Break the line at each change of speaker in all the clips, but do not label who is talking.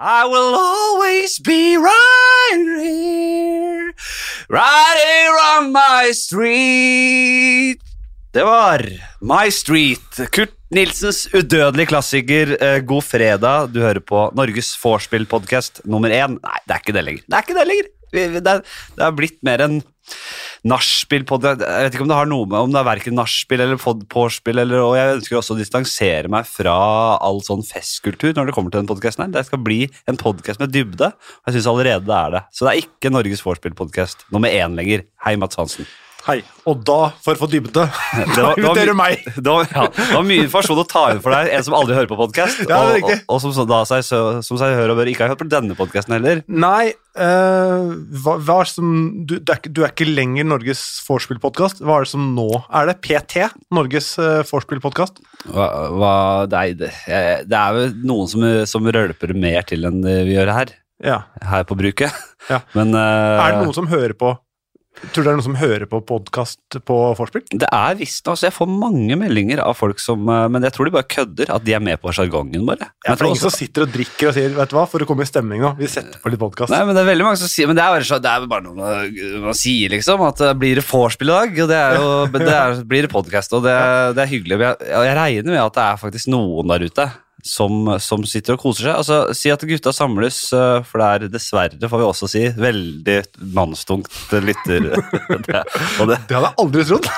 I will always be right here, right here on my street. Det var My Street. Kurt Nilsens udødelige klassiker eh, God fredag. Du hører på Norges vorspiel-podkast nummer én. Nei, det er ikke det lenger. Det er ikke det lenger. Vi- vi- Det er, det er blitt mer en nachspiel-podkast. Jeg vet ikke om det har noe med om det er verken nachspiel eller pod- vorspiel eller Og jeg ønsker også å distansere meg fra all sånn festkultur når det kommer til den podkasten her. Det skal bli en podkast med dybde. og Jeg syns allerede det er det. Så det er ikke Norges vorspiel-podkast nummer én lenger. Hei, Mats Hansen.
Hei. Og da, for å få dybde,
Det var, det var
inviterer du
mye-
meg.
Det var, ja, det var mye informasjon å ta inn for deg, en som aldri hører på podkast,
Ja, det er
og, og,
riktig.
og som, så- da, seg, så, som seg hører og bør ikke har hørt på denne podkasten heller.
Nei, eh, hva, hva er det som du, du, er, ikke- du er ikke lenger Norges vorspiel-podkast. Hva er det som nå er det? PT? Norges uh, vorspiel-podkast?
Hva, hva, nei, det, eh, det er jo noen som, som rølper mer til enn det vi gjør her,
Ja.
her på bruket.
Ja.
Men eh,
Er det noen som hører på Tror du det er noen som hører på podkast på vorspiel?
det er visst altså, Jeg får mange meldinger av folk som eh, Men jeg tror de bare kødder, at de er med på sjargongen, bare. Men jeg
Ja, for det
tror
er ingen
også-
som sitter og drikker og sier vet du hva, for å komme i stemning nå. Vi setter på litt podkast.
Nei, men det er veldig mange som sier Men det er bare, så, det er bare noe man, man sier, liksom. At det blir det vorspiel i dag, og det, er jo, men det er, blir det podkast, og det, det er hyggelig. Men Jeg, jeg regner med at det er faktisk noen der ute som, som sitter og koser seg. Altså, Si at gutta samles, eh, for det er dessverre, får vi også si, veldig mannstungt lytter. Det, og det,
Det hadde jeg aldri trodd.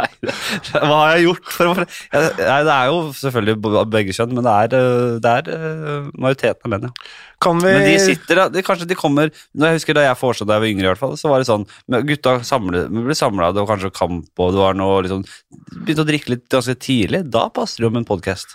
Nei, det- hva har jeg gjort for å for- Jeg- Nei, Det er jo selvfølgelig b- begge kjønn, men det er, eh, det er eh, majoriteten av menn, ja.
Kan vi
Men de sitter da, de, kanskje de kommer når Jeg husker da jeg foreslå da jeg var yngre i hvert fall, så var det sånn, men gutta samle, vi ble samlet, det var kanskje kamp, og det var noe liksom, begynte å drikke litt ganske tidlig, da passer det jo med en podcast.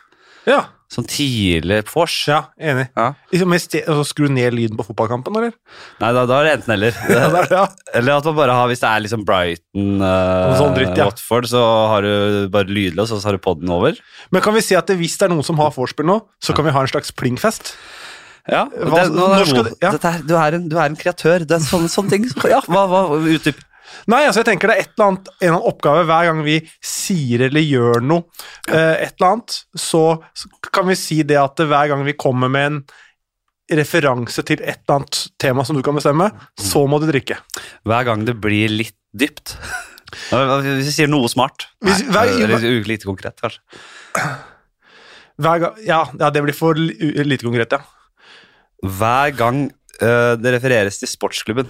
Ja,
Sånn tidlig fors.
ja enig.
Ja.
Liksom, i sted- altså, Skru ned lyden på fotballkampen, eller?
Nei, da, da er det enten eller.
Ja, det er det, ja.
Eller at man bare har, hvis det er liksom Brighton, eh,
Noe sånn dritt, ja.
Watford, så har du bare lydløs, og så har du podden over.
Men kan vi si at det- hvis det er noen som har vorspiel nå, så kan vi ha en slags plingfest?
Ja, det, nå, er
Hva- når
det
skal
god.
du- ja.
Dette her, du, er en, du er en kreatør, det er sånne, sånne ting. som- Ja, hva, hva, utdyp.
Nei, altså jeg tenker det er et eller annet, en eller annen oppgave hver gang vi sier eller gjør noe, eh, et eller annet, så så kan vi si det at hver gang vi kommer med en referanse til et eller annet tema som du kan bestemme, så må du drikke.
Hver gang det blir litt dypt. Hvis vi sier noe smart.
Hvis-
Nei,
hver-
eller u- lite konkret, kanskje.
Hver gang, ja, ja, det blir for li- u- lite konkret, ja.
Hver gang eh, det refereres til sportsklubben,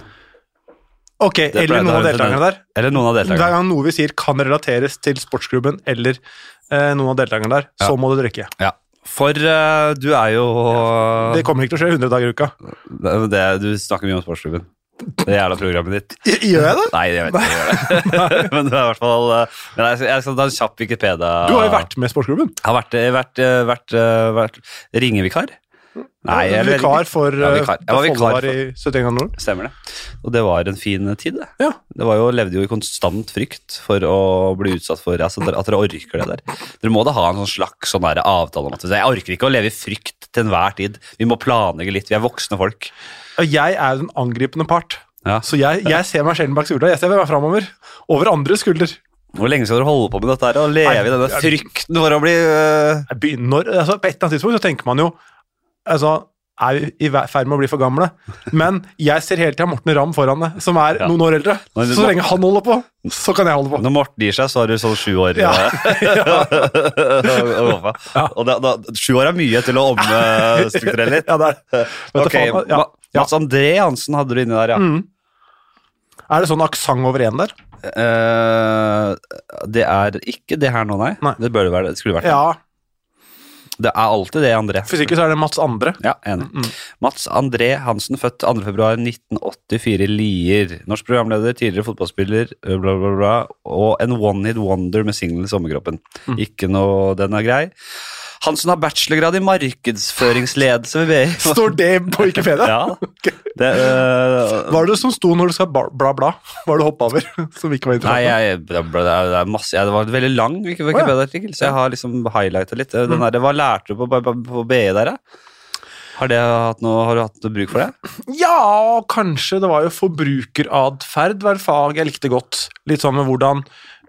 Ok, eller
pleier-
noen av
det er-
deltakerne der.
eller noen av
Hver
deltakerne.
gang noe vi sier kan relateres til sportsklubben eller eh, noen av deltakerne der,
Ja.
så må du drikke.
Ja. For eh, du er jo
Det kommer ikke til å skje 100 dager i uka.
det, Du snakker mye om sportsklubben. Det jævla programmet ditt.
Gjør jeg det?
Nei, jeg vet ikke. om jeg gjør det. Men du er i hvert fall eh, men jeg, skal- jeg skal ta en kjapp Wikipedia.
Du har jo vært med i sportsklubben.
Jeg har vært, eh, vært, eh, vært, eh, vært ringevikar. Nei,
Du var
eller-
vikar for eh,
Ja, vikar. Jeg var vikar
Follow
for-
i 71 grader nord.
Stemmer det. Og det var en fin tid, det.
Ja.
Det var jo, levde jo i konstant frykt for å bli utsatt for altså, dere- at dere orker det der. Dere må da ha en sånn slags sånn der avtale om at jeg orker ikke å leve i frykt til enhver tid. Vi må planlegge litt. Vi er voksne folk.
Og jeg er jo den angripende part.
Ja.
Så jeg, jeg ser meg sjelden bak skuldra. Jeg ser meg framover. Over andre skulder.
Hvor lenge skal dere holde på med dette her og leve i denne
Nei, jeg-
frykten for å bli øh,
Jeg begynner, altså på et eller annet tidspunkt så tenker man jo altså, er vi i ver- ferd med å bli for gamle? Men jeg ser hele tida Morten Ramm foran meg, som er
Ja.
noen år eldre.
Men-
Så lenge han holder på, så kan jeg holde på.
Når Morten gir seg, så har du sånn sju år.
Ja.
å gå på. Og da, da, sju år er mye til å omstrukturere litt.
Ja, det er det. Vet du
Ok,
faen, ja. Mm.
Ma- Mats André Hansen hadde du inni der, ja.
Er det sånn aksent over én der?
Eh, det er ikke det her nå, nei.
Nei.
Det bør det være. Det skulle vært det.
Ja.
Det er alltid det, André.
Hvis ikke så er det Mats Andre.
Ja, enig. Mats André Hansen, født 2.2.1984 i Lier. Norsk programleder, tidligere fotballspiller, øh, bla, bla, bla. Og en one-hit wonder med singelen Sommerkroppen. Ikke noe Den er grei. Hansen har bachelorgrad i markedsføringsledelse ved BI.
Står det på Wikipedia?
Ja, det, øh,
Hva er det som sto når du skal bla, bla, bla? Hva er det du hoppa over? Som ikke var
Nei,
interessant?
jeg, det, er- det er masse ja, Det var en veldig lang Wikipedia-artikkel, så jeg har liksom highlighta litt. Den der, hva lærte du på, på, på BI der, da? Har, det hatt noe, har du hatt noe bruk for det?
Ja, kanskje det var jo forbrukeratferd var et fag jeg likte godt. Litt sånn med hvordan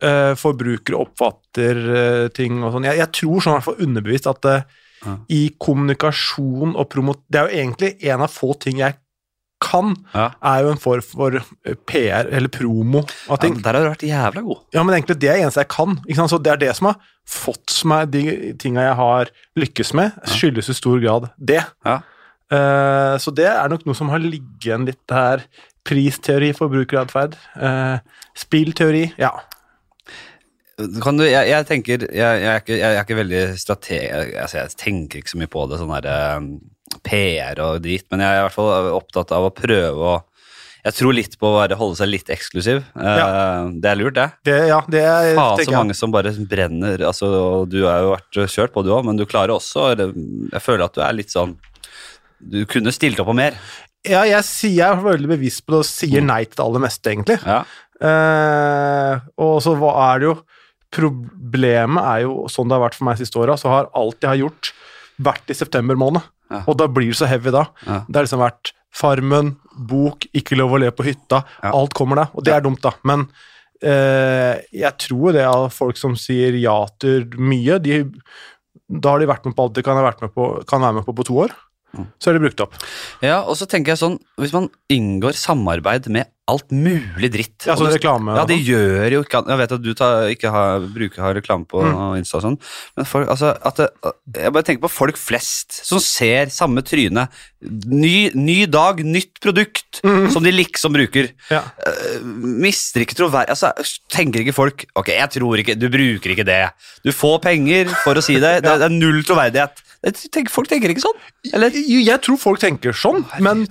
eh, forbrukere oppfatter eh, ting og sånn. Jeg, jeg tror sånn i hvert fall underbevist at eh,
Ja.
i kommunikasjon og promot... Det er jo egentlig en av få ting jeg kan,
Ja.
er jo en form for eh, PR eller promo av
Ja,
ting.
men der har du vært jævla god.
Ja, men egentlig det er det eneste jeg kan. Ikke sant? Så det er det som har fått meg de tinga jeg har lykkes med, skyldes i stor grad det.
Ja.
Eh, så det er nok noe som har ligget igjen litt her. Pristeori, forbrukeratferd. eh, spillteori, ja.
Kan du, jeg, jeg tenker jeg, jeg, er ikke, jeg, er ikke veldig strate- altså Jeg tenker ikke så mye på det, sånn derre PR og dritt, men jeg er i hvert fall opptatt av å prøve å Jeg tror litt på å være, holde seg litt eksklusiv. Eh, Det er lurt, det.
Det, ja, det er,
Faen så
tenker jeg.
mange som bare brenner. Altså, og du har jo vært kjørt på, du òg, men du klarer også eller, Jeg føler at du er litt sånn Du kunne stilt opp på mer.
Ja, jeg, sier, jeg er veldig bevisst på det og sier nei til det aller meste, egentlig.
Mm. Ja.
Eh, og så hva er det jo Problemet er jo sånn det har vært for meg siste året, så har alt jeg har gjort, vært i september måned.
Ja.
Og da blir det så heavy da.
Ja.
Det har liksom vært Farmen, bok, ikke lov å le på hytta.
Ja.
Alt kommer da, og det er dumt, da. Men eh, jeg tror det er folk som sier ja til mye. De, da har de vært med på alt de kan, ha vært med på, kan være med på på to år.
Mm.
Så er de brukt opp.
ja, og så tenker jeg sånn Hvis man inngår samarbeid med alt mulig dritt
Ja,
og
sånn
det-
reklame.
Ja, de gjør jo ikke an- Jeg vet at du tar, ikke har, bruker har reklame på
Mm.
Insta og sånn, men folk, altså, at det, jeg bare tenker på folk flest som ser samme tryne. Ny, ny dag, nytt produkt
Mm.
som de liksom bruker.
Ja.
Eh, mister ikke troverdighet altså, Tenker ikke folk Ok, jeg tror ikke Du bruker ikke det. Du får penger for å si det. Det, er- det er null troverdighet. Jeg tenker, folk tenker ikke sånn. Eller?
Jo, Jeg tror folk tenker sånn, men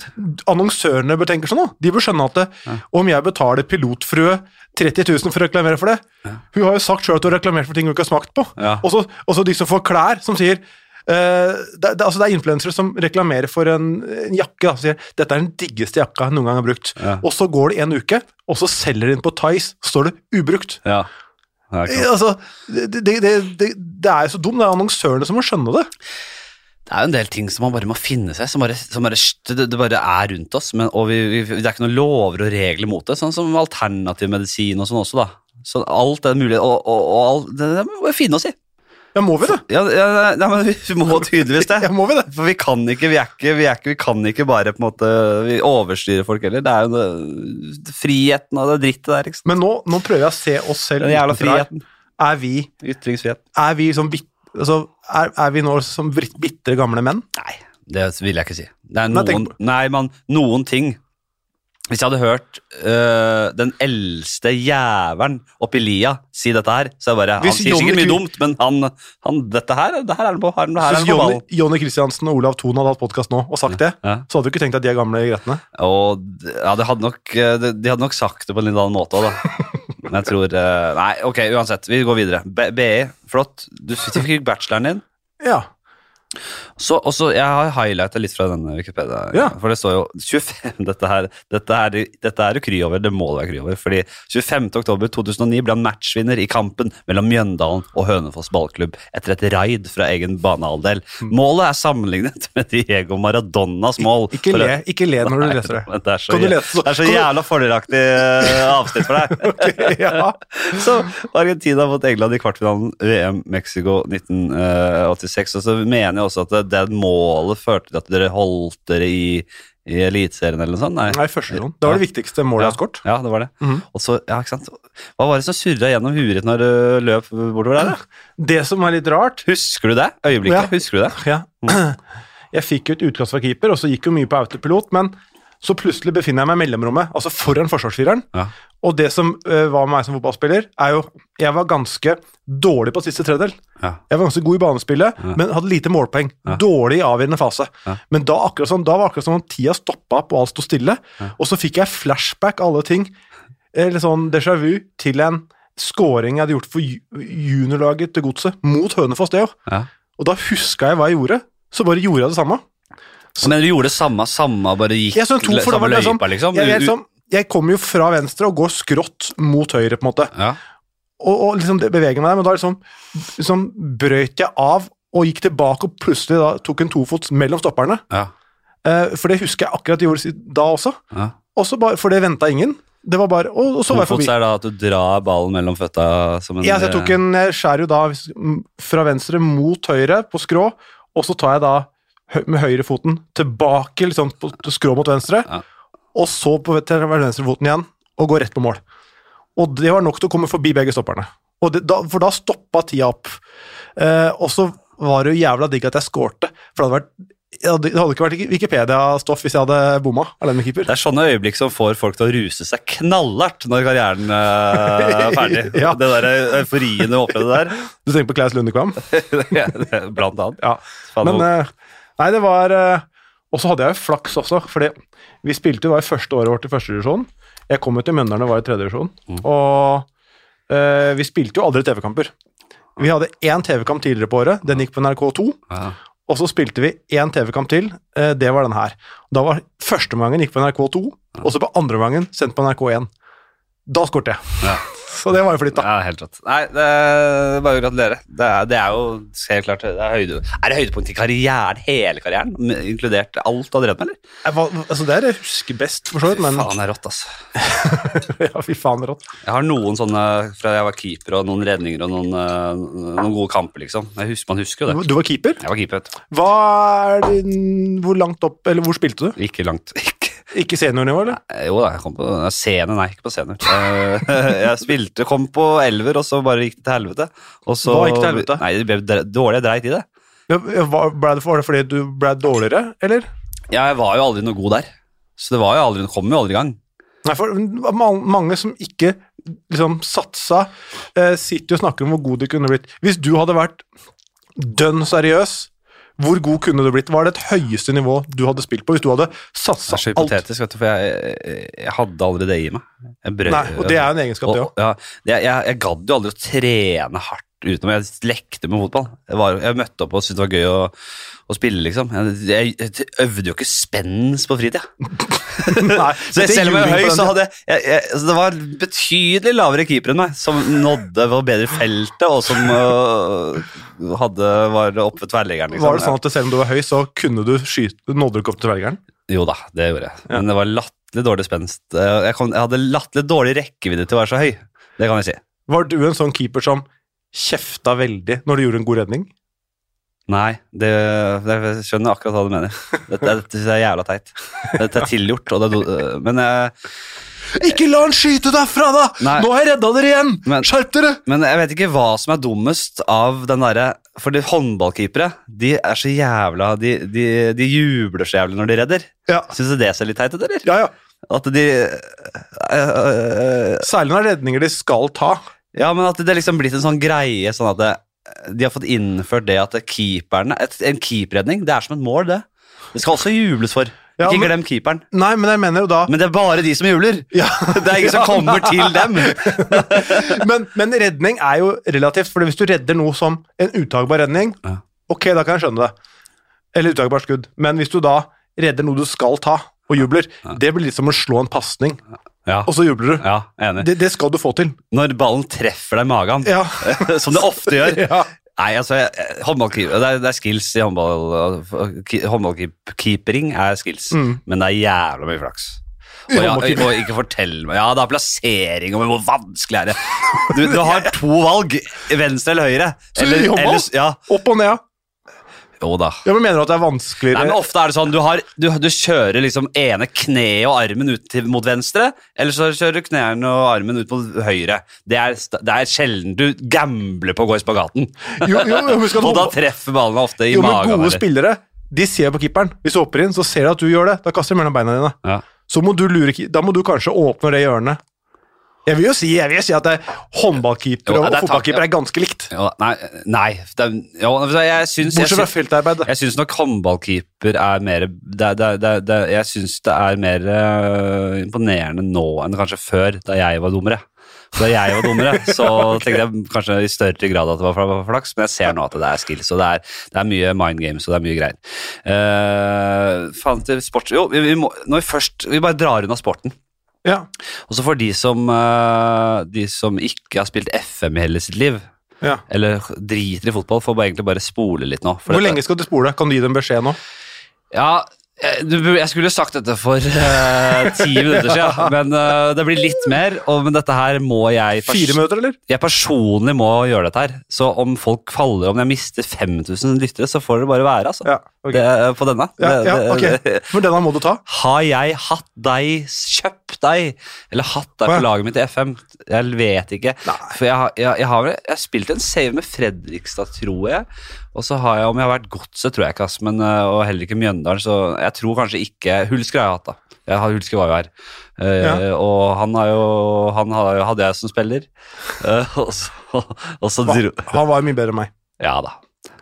annonsørene bør tenke sånn òg. De bør skjønne at det, om jeg betaler pilotfrue 30 000 for å reklamere for det Hun har jo sagt sjøl at hun har reklamert for ting hun ikke har smakt på.
Ja.
Og så og så de som får klær, som sier eh, det, det, altså det er influensere som reklamerer for en, en jakke. Da, og sier dette er den diggeste jakka jeg noen gang har brukt.
Ja.
Og så går det en uke, og så selger de den på Tice, så står det ubrukt.
Ja. Det er ikke sant.
Eh, Altså, det, det, det, det, det er jo så dumt. Det er annonsørene som må skjønne det.
Det er jo en del ting som man bare må finne seg, som bare, som bare, det, det bare er rundt oss. Men, og vi, vi, det er ikke noen lover og regler mot det, sånn som alternativ medisin og sånn også, da. Så alt er mulig, og, og, og alt, det, det må vi finne oss i.
Ja, må vi det?
Ja, ja, nei, men vi må tydeligvis det.
Ja, må vi det?
For vi kan ikke, vi er ikke, vi er ikke, vi kan ikke bare på en måte vi overstyre folk heller. Det er jo det, friheten og det drittet der, ikke sant.
Men nå, nå prøver jeg å se oss selv
Den jævla
utenfra her.
friheten.
Er vi,
Ytringsfrihet.
er vi, som, bit- altså, er, er vi nå som brit- bitre gamle menn?
Nei, det vil jeg ikke si. Det er
Nei,
noen,
tenk
nei, man, noen ting Hvis jeg hadde hørt øh, den eldste jævelen oppi lia si dette her, så er det bare Han
Hvis
sier
Johnny
sikkert mye
Cl-
dumt, men han, han Dette her, det her er han på, her, er han- her er
Hvis
han på
Jonny,
ballen.
Jonny Kristiansen og Olav Thon hadde hatt podkast nå og sagt det,
Ja.
så hadde du ikke tenkt at de er gamle gretne.
Og d- ja, det hadde nok, øh, det- de hadde nok sagt det på en litt annen måte òg, da. Men jeg tror øh, Nei, ok, uansett. Vi går videre. B- BI, flott. Du fikk bacheloren din.
Ja.
Så, og så, Jeg har highlighta litt fra denne Wikipedia.
Ja.
For det står jo 25 Dette her dette er, dette er du kry over. Det må du være kry over. Fordi 25. oktober 2009 ble han matchvinner i kampen mellom Mjøndalen og Hønefoss ballklubb etter et raid fra egen banehalvdel.
Hmm.
Målet er sammenlignet med Diego Maradonas mål.
Ikke
For-
le, ikke le når du leser det.
Men det er så,
Kan du
jæ-
lese så-
det er så
kan du-
jævla fordelaktig eh, avsnitt for deg.
Ok, ja.
Så Argentina mot England i kvartfinalen VM Mexico 1986. Og så mener jeg også at det, det målet førte til at dere holdt dere i, i Eliteserien eller noe sånt. Nei.
Nei, første gang. Det var det viktigste målet jeg har skåret.
Ja, det var det.
Mhm.
Og så, ja, ikke sant? Hva var det som surra gjennom huet ditt når du løp bortover der? da?
Det som er litt rart
Husker du det? Øyeblikket?
Ja.
Husker du det?
ja. Jeg fikk jo et utkast fra keeper, og så gikk jo mye på autopilot, men så plutselig befinner jeg meg i mellomrommet, altså foran forsvarsfireren.
Ja.
Og det som eh, var med meg som fotballspiller, er jo Jeg var ganske dårlig på siste tredjedel.
Ja.
Jeg var ganske god i banespillet, men hadde lite målpoeng. Dårlig i avgjørende fase.
Ja.
Men da akkurat sånn, da var akkurat som om tida stoppa opp, og alt sto stille. Og så fikk jeg flashback av alle ting, eller sånn déjà vu, til en scoring jeg hadde gjort for ju- juniorlaget til Godset, mot Hønefoss, det jo.
Ja.
Og da huska jeg hva jeg gjorde, så bare gjorde jeg det samme.
Men du gjorde det samme, samme, bare gikk
Jeg, sånn to, for det
samme
var liksom,
løypa, liksom?
jeg,
Du-
jeg,
du-
liksom, jeg kommer jo fra venstre og går skrått mot høyre, på en måte.
ja.
og, og liksom det beveger meg der, men da liksom, liksom brøyt jeg av og gikk tilbake og plutselig da tok en tofots mellom stopperne.
Ja.
Eh, for det husker jeg akkurat jeg gjorde si- da også.
ja.
Og så bare, For det venta ingen. Det var bare, Og, og så var jeg
Tofots
forbi.
er da at du drar ballen mellom føtta som en
eh, Ja, så jeg tok en jeg skjærer jo da hvis- m- fra venstre mot høyre på skrå, og så tar jeg da hø- med høyrefoten tilbake, liksom på på skrå mot venstre,
Ja.
og så på til venstrefoten igjen, og går rett på mål. Og det var nok til å komme forbi begge stopperne. Og det, da, for da stoppa tida opp. Eh, og så var det jo jævla digg at jeg skårte, for det hadde vært det hadde- det hadde ikke vært Wikipedia-stoff hvis jeg hadde bomma alene med keeper.
Det er sånne øyeblikk som får folk til å ruse seg knallhardt når karrieren eh, er ferdig.
Ja.
Det der euforien du opplevde der,
Du tenker på Klaus Lundekvam?
det, det, blant annet.
Ja.
Faen,
Men eh, Nei, det var eh, Og så hadde jeg jo flaks også, fordi vi spilte jo da i første året vårt i første divisjon. Jeg kom jo til Mjøndalen og var i tredje divisjon. Og eh, vi spilte jo aldri TV-kamper. Vi hadde én TV-kamp tidligere på året. Den gikk på NRK2.
Ja.
Og så spilte vi én TV-kamp til. eh, det var den her. Da var Første omgangen gikk på NRK2, og så på andre omgangen sendt på NRK1. Da skåret jeg.
Ja.
Så det var jo flytt, da.
Ja, helt rått. Nei, det er bare å gratulere. Det er, det er jo helt klart det er, høyde, er det høydepunkt i karrieren, hele karrieren, med- inkludert alt du har drevet med, eller?
Jeg var, altså, det er det jeg husker best, for så vidt, men
Faen, det er rått, altså.
ja, fy faen, rått.
Jeg har noen sånne fra jeg var keeper, og noen redninger og noen, eh, noen gode kamper, liksom. Jeg husker, man husker jo det.
Du var keeper?
Jeg var keeper, vet du.
Hva er din, hvor langt opp, eller hvor spilte du?
Ikke langt. Ikke.
Ikke seniornivå, eller?
Eh, Jo da, jeg kom på nei, scene, nei, ikke på scene. Eh, Jeg spilte, kom på elver, og så bare gikk det til helvete. Og så,
Hva gikk til helvete?
Nei, det ble dre- dårlig, jeg dreit i det.
Ja, hva- ble det, var det fordi du ble dårligere, eller?
Jeg var jo aldri noe god der. Så det var jo aldri, kom jo aldri i gang.
Nei, for ma- mange som ikke liksom satsa, eh, sitter jo og snakker om hvor god du kunne blitt. Hvis du hadde vært dønn seriøs, hvor god kunne du blitt? Var det et høyeste nivå du hadde spilt på, hvis du hadde
Det
satsa
er så
alt?
hypotetisk, vet du, for jeg, jeg- jeg hadde aldri det i meg. Jeg brød,
Nei, og det er jo en egenskap, det òg.
ja, jeg, jeg, jeg gadd jo aldri å trene hardt utenom. Jeg lekte med fotball. Jeg, var, jeg møtte opp og syntes det var gøy å, å spille, liksom. Jeg, jeg, jeg øvde jo ikke spens på fritida. Så jeg, selv om jeg var høy, så hadde jeg, jeg, jeg altså, Det var betydelig lavere keeper enn meg, som nådde på bedre feltet, og som øh, hadde, var oppe ved tverrleggeren. Liksom.
Var det sånn at selv om du var høy, så kunne du skyte, nådde du ikke opp til velgeren?
Jo da, det gjorde jeg. Men det var latterlig dårlig spenst. Eh, Jeg, kom, jeg hadde latterlig dårlig rekkevidde til å være så høy. Det kan jeg si.
Var du en sånn keeper som kjefta veldig når du gjorde en god redning?
Nei, det, det, jeg skjønner akkurat hva du mener. Dette, dette synes jeg er jævla teit. Dette er tilgjort, og det er do- eh, Men, jeg-
Ikke la han skyte derfra, da!
Nei.
Nå har jeg redda dere igjen!
Men-
Skjerp dere!
men jeg vet ikke hva som er dummest av den derre For de håndballkeepere, de er så jævla De, de, de jubler så jævlig når de redder.
Ja,
Syns du det ser litt teit ut, eller?
ja. ja.
At de eh, eh,
Særlig når det er redninger de skal ta.
Ja, men at det er liksom blitt en sånn greie sånn at det, de har fått innført det at keeperne et, En keeperredning, det er som et mål, det. Det skal også jubles for.
Ja,
ikke
men-
glem keeperen.
Nei, men jeg mener jo da
Men det er bare de som jubler!
ja.
Det er ingen som kommer til dem!
men, men redning er jo relativt, for hvis du redder noe som en uttakbar redning,
Ja.
ok, da kan jeg skjønne det. Eller uttakbart skudd. Men hvis du da redder noe du skal ta, og jubler, det blir litt som å slå en pasning,
Ja,
og så jubler du.
ja enig.
Det, det skal du få til.
Når ballen treffer deg i magen,
Ja.
som det ofte gjør
ja.
Nei, altså, jeg- jeg- håndballkeeper det, er- det er skills i håndball. Håndballkeepering er skills,
Mm.
men det er jævla mye flaks. Og, ja,
håndballkeeper.
og ikke fortell meg Ja, det er plassering, og men hvor vanskelig er det? Du, du har to valg. Venstre eller høyre.
Så i håndball?
ellers- ja.
Opp og ned, ja.
Jo da.
Ja, men Mener du at det er vanskeligere
Nei, men Ofte er det sånn du, har, du, du kjører liksom ene kneet og armen ut til, mot venstre, eller så kjører du knærne og armen ut mot høyre. Det er, sta- det er sjelden du gambler på å gå i spagaten.
Jo, jo, jo, husk at
Og da
håndball-
treffer ballene ofte i
jo, men
magen.
gode
eller-
spillere de ser på keeperen. Hvis du hopper inn, så ser de at du gjør det. Da kaster de mellom beina dine.
Ja.
Så må du lure, ki- Da må du kanskje åpne det hjørnet. Jeg vil jo si, jeg vil jo si at det, håndballkeeper
Jo,
og
det er tak-
fotballkeeper er ganske likt.
Jo, nei, nei det, er- jo, jeg syns jeg
Bortsett fra
syns-
feltarbeid.
Jeg syns nok håndballkeeper er mer det, det, det, det, Jeg syns det er mer øh, imponerende nå enn kanskje før, da jeg var dummere. Da jeg var dummere, så tenkte jeg kanskje i større grad at det var fla- flaks, men jeg ser nå at det er skills, og det er, det er mye mind games, og det er mye greier. Eh, faen til sports... Jo, vi, vi må, når vi først Vi bare drar unna sporten.
Ja.
Og så for de som, eh, de som ikke har spilt FM i hele sitt liv,
Ja.
eller driter i fotball, får bare egentlig bare spole litt nå. for
Hvor
dette-
lenge skal du spole? Kan du gi dem beskjed nå?
ja, Eh, du bur- Jeg skulle sagt dette for eh, ti minutter siden, men eh, det blir litt mer. Og, men dette her må jeg pers-
Fire minutter, eller?
Jeg personlig må gjøre dette her. Så om folk faller, om jeg mister 5000 lyttere, så får det bare være, altså.
Ja, ok.
Det, eh, på denne.
ja,
Det-
ja,
det-
ok. For denne må du ta.
Har jeg hatt deg, kjøpt deg, eller hatt deg
Å, ja.
på laget mitt i FM? Jeg vet ikke.
Nei.
For jeg, har- jeg, jeg har vel jeg har spilt en save med Fredrikstad, tror jeg. Og så har jeg, om jeg har vært godset, tror jeg ikke, ass, men, øh, og heller ikke Mjøndalen, så jeg tror kanskje ikke Hulsker har jeg hatt, da. Jeg har, Hulsker var jo her. Eh, Og han, har jo, han har, hadde jeg som spiller. Eh, og så, og så dro
Han var mye bedre enn meg.
ja da.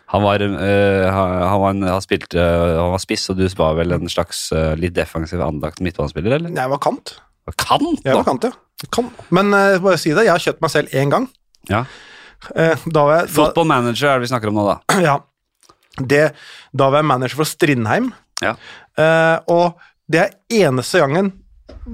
Han var, øh, han, han var, en, han, spilte, øh, han var spiss, og du var vel en slags øh, litt defensiv anlagt midtbanespiller, eller?
Jeg var kant.
Kant,
Jeg
da!
var kant, ja. Kan. Men eh, bare si det, jeg har kjøpt meg selv én gang.
Ja.
Eh, da var jeg da,
Football manager er det vi snakker om nå, da.
ja, det, da var jeg manager for Strindheim.
Ja.
Eh, og det er eneste gangen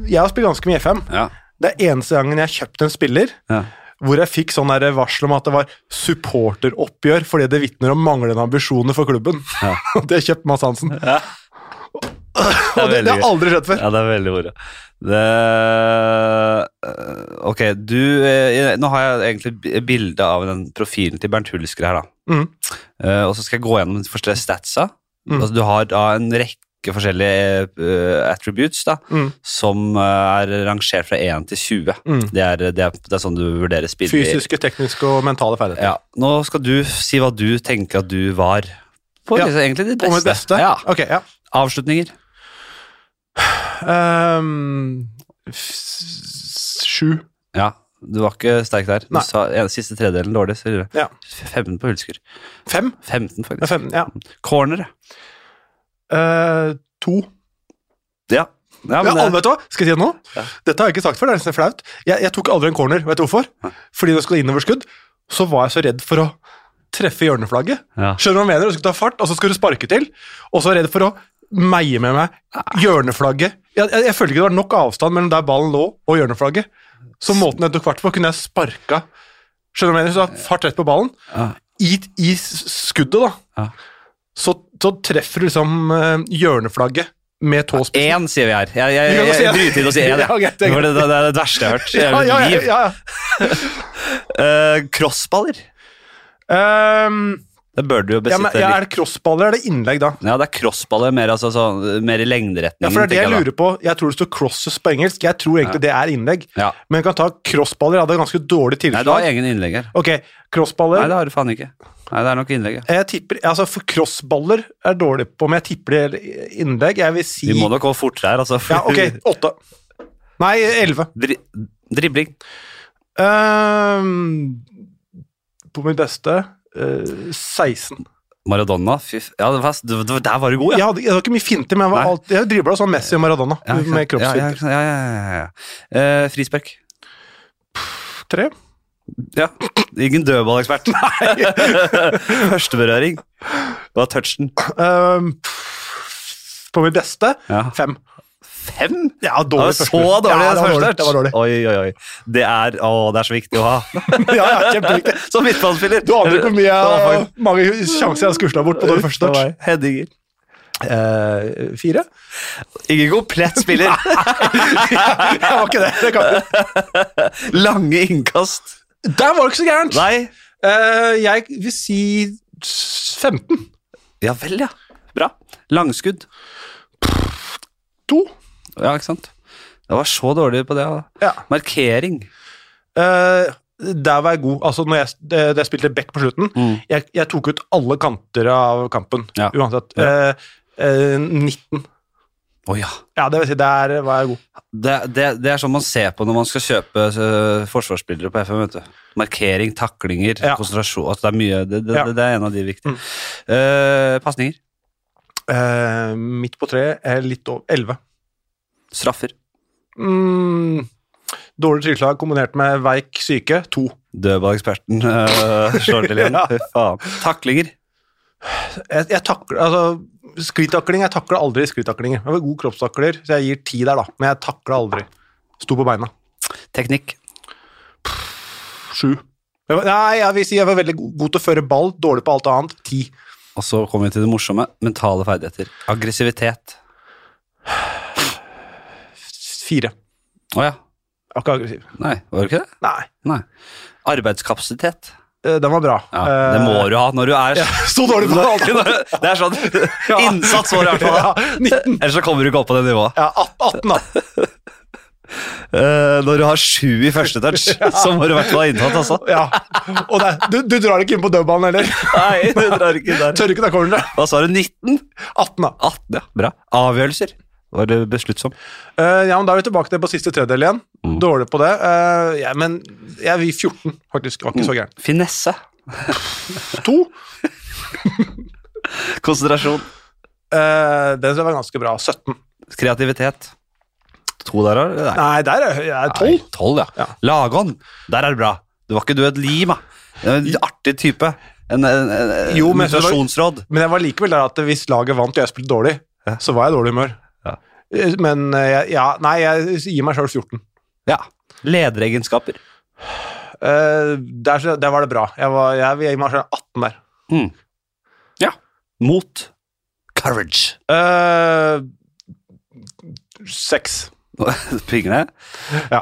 Jeg har spilt ganske mye FM.
Ja.
Det er eneste gangen jeg har kjøpt en spiller
Ja.
hvor jeg fikk sånn der varsel om at det var supporteroppgjør fordi det vitner om manglende ambisjoner for klubben.
Ja.
Og det kjøpte Mads Hansen.
Ja.
Og det, det
veldig
har aldri skjedd før.
Ja, det er veldig moro. Det øh, Ok, du eh, Nå har jeg egentlig b- bilde av den profilen til Bernt Hulsker her, da.
Mm.
Eh, og så skal jeg gå gjennom de forskjellige statsa.
Mm.
Altså, du har da en rekke forskjellige eh, attributes da,
Mm.
som eh, er rangert fra 1 til 20.
Mm.
Det, er, det, er, det er sånn du vurderer spill.
Fysiske, tekniske og mentale ferdigheter.
Ja. Nå skal du si hva du tenker at du var på
Ja.
liksom, egentlig ditt
Om
beste.
mitt beste?
Ja.
Ok, ja.
Avslutninger.
Ehm, s- sju.
Ja. Du var ikke sterk der. Du
Nei.
sa en, siste tredelen dårlig. Så gjorde jeg
Ja.
15 på Hulsker.
Fem?
15,
Ja,
faktisk.
fem ja.
Corner, ja.
Eh, to.
ja. Ja,
Ja,
men,
alle,
det-
vet du hva? Skal jeg si det nå?
Ja.
Dette har jeg ikke sagt før, det er nesten flaut. Jeg, jeg tok aldri en corner, vet du hvorfor? Fordi når jeg skulle ha innoverskudd, så var jeg så redd for å treffe hjørneflagget.
ja.
Skjønner du hva jeg mener? Du skal ta fart, og så skal du sparke til, og så er jeg redd for å meie med meg hjørneflagget. Jeg, jeg, jeg følte ikke det var nok avstand mellom der ballen lå og hjørneflagget. Så måten jeg tok fart på, kunne jeg sparka Skjønner du hva jeg mener? Så da fart rett på ballen.
Ja.
I, i s- skuddet, da,
Ja.
så, så treffer du liksom eh, hjørneflagget med tåspissen.
Én sier vi her. Jeg, jeg,
Vi
jeg,
kan godt si
Eh, jeg
det.
bryter inn og sier én.
Ja,
jeg.
greit, det er
Det, var det, det er det verste jeg har hørt. i hele
Ja, ja,
mitt
ja,
liv.
ja, ja.
Eh, crossballer.
Ehm,
Det bør du jo
ja,
besitte
men,
litt.
ja,
Ja,
er det crossballer eller er det innlegg, da?
det er crossballer, mer, altså, sånn, mer i lengderetningen.
Ja, for det er det jeg
tenker
lurer på. Jeg tror det står 'crosses' på engelsk. Jeg tror egentlig det er innlegg.
da. Ja.
Men jeg kan ta crossballer. Jeg hadde ganske dårlig
Nei, du har
tilslag.
egen innlegg her.
Ok,
Nei,
crossballer.
det har du faen ikke. Nei, det er nok innlegg, ja.
Jeg tipper, altså for Crossballer er jeg dårlig på, men jeg tipper det er innlegg. Jeg vil si
Vi må nok gå fortere her, altså. for-
Ja, ok, åtte. Nei, elleve.
Dri dribling.
Ehm, på mitt beste eh, 16.
Maradona, fy f... Ja, det var, det, var- der var du god,
Jeg
ja.
hadde, jeg hadde ikke mye finter, men jeg, var
Nei.
alt- jeg dribla sånn Messi og Maradona
Ja, ikke sant.
med
Ja,
kroppsfinter.
ja, ja, ja, ja, ja. Eh, frispark.
Tre.
Ja. Ingen dødballekspert. Førsteberøring. Det var touchen.
Ehm, pff, på mitt beste
Ja.
fem.
Fem?
Ja,
Det var
dårlig
så
første. Ja,
dårlig
det var dårlig,
første
det var dårlig.
Oi, oi, oi. Det er, å, det er så viktig å ha.
ja, ja, kjempeviktig.
Som midtbanespiller.
Du aner ikke hvor mye
Det var
jeg,
faktisk-
mange sjanser jeg har skusla bort på dårlig første
Det
touch.
var Headinger.
Eh, fire?
Ingen komplett spiller.
Jeg var ikke det. det kan.
Lange innkast.
Der var det ikke så gærent.
Nei.
Eh, jeg vil si 15.
Ja vel, ja. Bra. Langskudd.
To.
Ja, ikke sant? Det var så dårlig på det. da.
Ja.
Markering.
Eh, der var jeg god. Altså, når jeg, det, det jeg spilte back på slutten,
Mm.
jeg, jeg tok ut alle kanter av kampen,
Ja.
uansett. Eh, eh, 19.
Å ja.
Ja, det vil si, der var jeg god.
Det, det, det er sånn man ser på når man skal kjøpe øh, forsvarsspillere på FM. vet du. Markering, taklinger,
Ja.
konsentrasjon. Altså det er mye. Det, det,
Ja. Mm.
det, det er en av de viktige. Eh, Pasninger.
Eh, midt på tre er litt over 11.
Straffer.
Mm, dårlig tilslag kombinert med veik syke, 2.
Dødballeksperten øh, slår til igjen.
Ja.
Fy faen. Taklinger.
Jeg, jeg takler, altså, sklitakling, jeg takler aldri sklitaklinger. Jeg var god kroppstakler, så jeg gir 10 der da, men jeg takler aldri. Sto på beina.
Teknikk.
7. Jeg var, nei, jeg vil si jeg var veldig god, god til å føre ball, dårlig på alt annet, 10.
Og så kommer vi til det morsomme. Mentale ferdigheter. Aggressivitet.
Fire.
Å ja.
Jeg var ikke aggressiv.
Nei, var det ikke det?
Nei.
Nei. Arbeidskapasitet.
Eh, Den var bra.
Ja, det må du ha når du er
Så dårlig på alt!
Det er sånn Innsats må du i hvert fall
Ja,
ha.
19.
Ellers så kommer du ikke opp på det nivået.
Ja, 18, da.
Eh, når du har sju i første touch, så må du i hvert fall ha innsats, altså.
Ja. Og det, er- du, du drar ikke inn på dødballen heller.
Nei, du drar ikke der.
Tør ikke ta corneret.
Hva sa du, 19?
18, da.
18, ja, bra. Avgjørelser var det besluttsom.
Eh, ja, men Da er vi tilbake til på siste tredjedel igjen.
Mm.
Dårlig på det. Eh, ja, men jeg vil 14, faktisk. Var ikke så gæren.
Finesse. Mm.
To.
Konsentrasjon.
Eh, den som var ganske bra. 17.
Kreativitet. To der, har Nei.
Nei, der er jeg er 12.
Nei, tolv, ja.
Ja.
Lagånd. Der er det bra. Du var ikke du et lim, da. En artig type. En, en, en, en
Jo, men-
meditasjonsråd.
Men jeg var likevel der at hvis laget vant og jeg spilte dårlig,
Ja.
så var jeg i dårlig humør.
Ja.
Eh, Men eh, jeg- ja, nei, jeg gir meg sjøl 14.
Ja. Lederegenskaper.
Eh, der, så- der var det bra. Jeg, var, jeg, vil gi meg selv 18 der.
Mot. Courage.
Eh, Seks.
Pingene.
ja.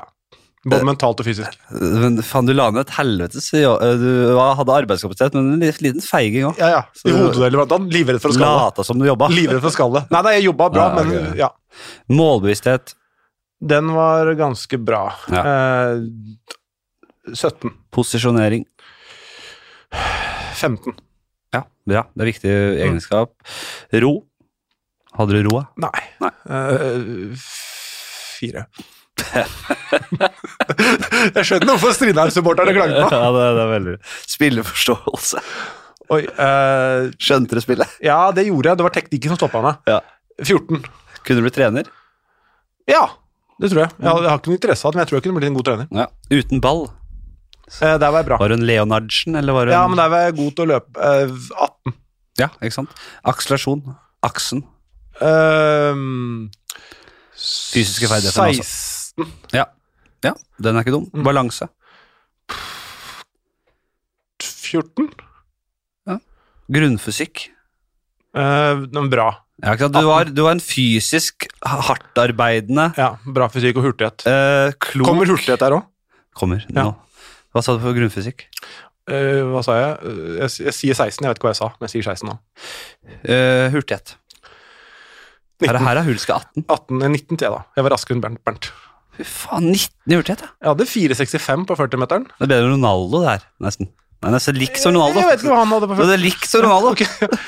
Både mentalt og fysisk.
Men faen, du la ned et helvetes jo- eh, Du var- hadde arbeidskapasitet, men en liten feiging òg.
Ja, ja. I
Så-
hodedueller blant annet. Livredd for å skalle.
Lata som du jobba.
Livredd for skallet. Nei, nei, jeg jobba bra,
Nei,
men
ok.
ja.
Målbevissthet.
Den var ganske bra.
Ja.
Eh, 17.
Posisjonering.
15.
Ja, bra. Det er viktig egenskap. Ro. Hadde du roa?
Nei.
Nei.
Eh, f- fire. jeg skjønner hvorfor Strindheim-supporterne klagde på.
det, det er veldig Spilleforståelse.
Oi, eh,
Skjønte du spillet?
ja, det gjorde jeg. Det var teknikken som stoppa meg.
Ja.
14.
Kunne du bli trener?
Ja, det tror jeg. Jeg, har- jeg har ikke noe interesse av det, men jeg tror jeg kunne blitt en god trener.
Ja. Uten ball?
Eh, der var jeg bra.
Var hun Leonardsen, eller var hun
Ja, men der var jeg god til å løpe. Eh, 18.
Ja, ikke sant? Akselerasjon. Aksen.
Ehm, s-
Fysiske ferdigheter, altså.
16.
Ja. ja. Den er ikke dum.
Mm.
Balanse.
14.
Grunnfysikk.
Eh, den bra.
Ja, ikke sant? Du, var, du var en fysisk hardtarbeidende
Ja, bra fysikk og hurtighet.
eh, klok
Kommer hurtighet der òg?
Kommer nå.
Ja.
Hva sa du for grunnfysikk?
Eh, hva sa jeg? Eh, jeg? s- Jeg sier 16, jeg vet ikke hva jeg sa, men jeg sier 16 nå.
Eh, hurtighet. Her, er-
19,
her er hulske 18.
18, eh, 19 til jeg, da. Jeg var raskere enn Bernt. Bernt.
Fy faen, 19 i hurtighet, ja.
Jeg hadde 4,65 på 40-meteren.
Det er bedre enn Ronaldo, det her, nesten. Nei, nesten likt som Ronaldo.
Jeg vet ikke hva han hadde på
Men
40.
det er likt som Ronaldo.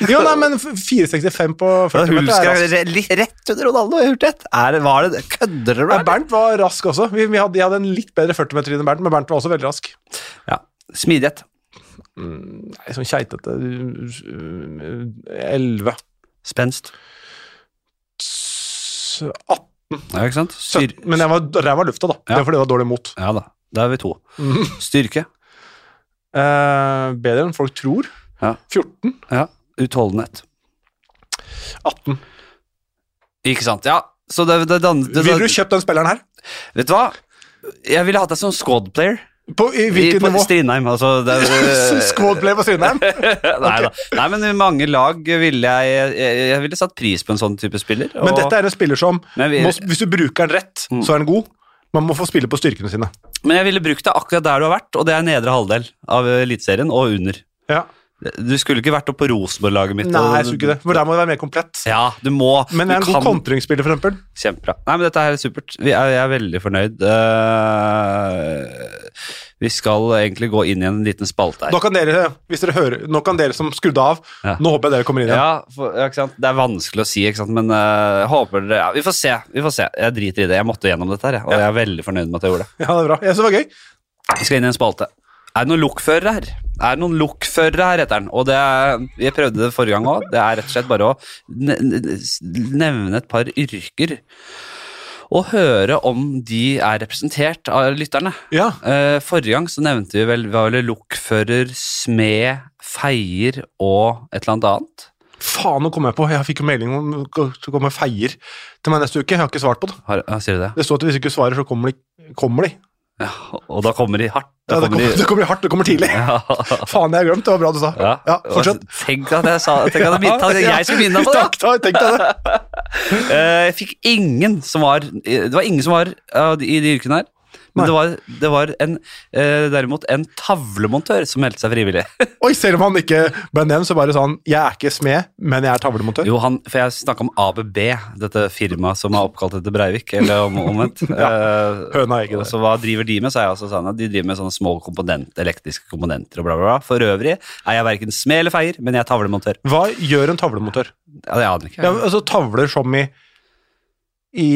Jo, nei, men f- 4,65 på
Det er
40 meter
hulsker
er
er
raskt.
re- li- rett under Ronaldo i hurtighet. Er det, var det, kødder du
Nei,
med meg?
Bernt var rask også. Vi, vi hadde, jeg hadde en litt bedre 40-meter enn Bernt, men Bernt var også veldig rask.
Ja. Smidighet.
Mm, Nei, sånn keitete uh, uh, 11.
Spenst.
S- 18,
Ja, ikke sant? Styr
17 Men jeg var ræva i lufta, da.
Ja. Mhm.
Det er fordi det var dårlig mot.
ja da, da er vi to. Styrke.
Eh, bedre enn folk tror.
Ja.
14.
Ja. Utholdenhet.
18.
Ikke sant. Ja, så det, det, det, sånn- det,
Ville du kjøpt den spilleren her?
Vet du hva? Jeg ville hatt deg som squad player.
På, I
I-
hvilket
på
nivå?
Strindheim, altså. Det,
Squadplay på Strindheim?
nei, da. nei, men i mange lag ville jeg, jeg Jeg ville satt pris på en sånn type spiller.
Men dette er en spiller som
men, jeg,
må,
vil-
Hvis du bruker den rett,
Mm.
så er den god. Man må få spille på styrkene sine.
men jeg ville brukt deg akkurat der du har vært, og det er nedre halvdel av Eliteserien og under.
Ja.
Du skulle ikke vært oppe på Rosenborg-laget mitt.
Nei,
og-
jeg tror ikke det. For der må det være mer komplett.
Ja, du må.
Men
du
jeg er en god kontringsspiller, for eksempel.
Kjempebra. Nei, men dette her er supert. Vi er, jeg er veldig fornøyd. Eh, vi skal egentlig gå inn i en liten spalte her.
Nå kan dere, hvis dere hører, nå kan dere som skrudde av,
Ja.
nå håper jeg dere kommer inn igjen.
Ja, for, ja, ikke sant? Det er vanskelig å si, ikke sant? men eh, jeg håper dere ja, Vi får se. vi får se. Jeg driter i det. Jeg måtte gjennom dette, her, jeg, og jeg er veldig fornøyd med at jeg gjorde det.
Ja, det er bra. Jeg synes det var gøy.
Vi skal inn i en spalte. Er det noen lokførere her? Er det noen lokførere her, heter den. Og det er, jeg prøvde det forrige gang òg. Det er rett og slett bare å ne- ne- nevne et par yrker. Og høre om de er representert av lytterne.
Ja.
Eh, forrige gang så nevnte vi vel, var vel lokfører, smed, feier og et eller annet annet.
Faen, nå kom jeg på. Jeg fikk jo melding om å komme feier til meg neste uke. Jeg har ikke svart på det.
Har, ja, sier du det?
Det står at hvis du ikke svarer, så kommer de. Kommer de.
Ja, og da kommer de hardt. Da
Ja,
kommer
det, kommer,
de...
det kommer hardt, det kommer tidlig.
Ja.
Faen, jeg har glemt. Det var bra du sa.
Ja.
Ja, fortsett.
Tenk at jeg sa Tenk at jeg, minnet- at Altså, jeg skulle minne deg på det!
Takk, takk, tenk deg det.
Eh, Jeg fikk ingen som var Det var ingen som var av de- i de yrkene her. Men
Nei.
det var, det var en, eh, derimot en tavlemontør som meldte seg frivillig.
Oi, selv om han ikke ble nevnt, så bare sånn Jeg er ikke smed, men jeg er tavlemontør.
Jo, han, for jeg snakka om ABB, dette firmaet som er oppkalt etter Breivik, eller om, omvendt. Eh,
Høna og egget
og
der.
så hva driver de med, sa jeg også, sa han. at De driver med sånne små komponent, elektriske komponenter og bla, bla, bla. For øvrig er jeg verken smed eller feier, men jeg er tavlemontør.
Hva gjør en tavlemontør?
Ja, det aner jeg
Ja,
ikke.
altså tavler som i I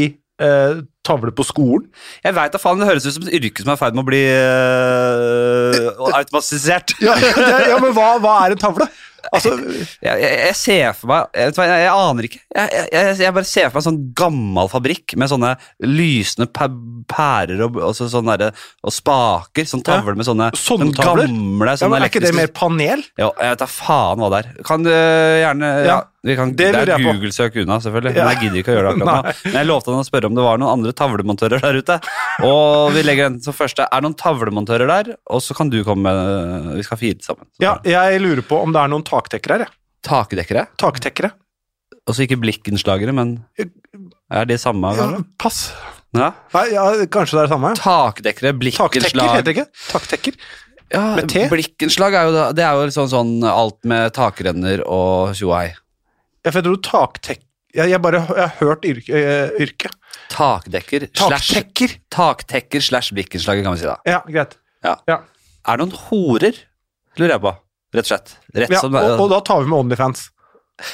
eh, tavler på skolen?
Jeg veit da faen, det høres ut som et yrke som er i ferd med å bli eh, automatisert.
Ja, det, ja men hva, hva er en tavle? Altså,
Jeg, jeg, jeg ser for meg Jeg, vet hva, jeg, jeg aner ikke. Jeg, jeg, jeg bare ser for meg en sånn gammel fabrikk med sånne lysende pæ- pærer og, og, så sånn derre- og spaker. Sånn tavler med sånne,
Sånne
sånn
tavler?
gamle
ja,
sånne
men er ikke det
elektriske-
mer panel?
Jo, Jeg vet da faen hva det er. Kan du eh, gjerne ja,
Ja,
vi kan, Det,
det
er
lurer jeg på.
Google-søk unna, selvfølgelig.
Ja.
Men jeg gidder ikke å gjøre det akkurat nå. Men jeg lovte han å spørre om det var noen andre tavlemontører der ute. Og vi legger den som første. Er det noen tavlemontører der? Og så kan du komme med eh, Vi skal fire sammen. Så-
Ja, jeg lurer på om det er noen taktekkere her. jeg.
Takdekkere.
Taktekkere.
Og så ikke blikkenslagere, men er de samme?
Ja,
kanskje?
pass.
Ja.
Nei, ja, kanskje det er det samme.
Takdekkere,
Taktekker
blikkenslag
heter det ikke? Taktekker.
ja,
Med T?
Blikkenslag er jo, da- det er jo sånn, sånn alt med takrenner og tjoei.
Ja, for jeg tror taktek... Jeg, jeg bare jeg har hørt yrke. eh, yrke.
Takdekker slash
Taktekker.
Taktekker slash blikkenslager, kan vi si da.
Ja, greit.
Er det noen horer? Lurer jeg på. Rett og slett. Rett
Ja,
som
og, og da tar vi med Onlyfans.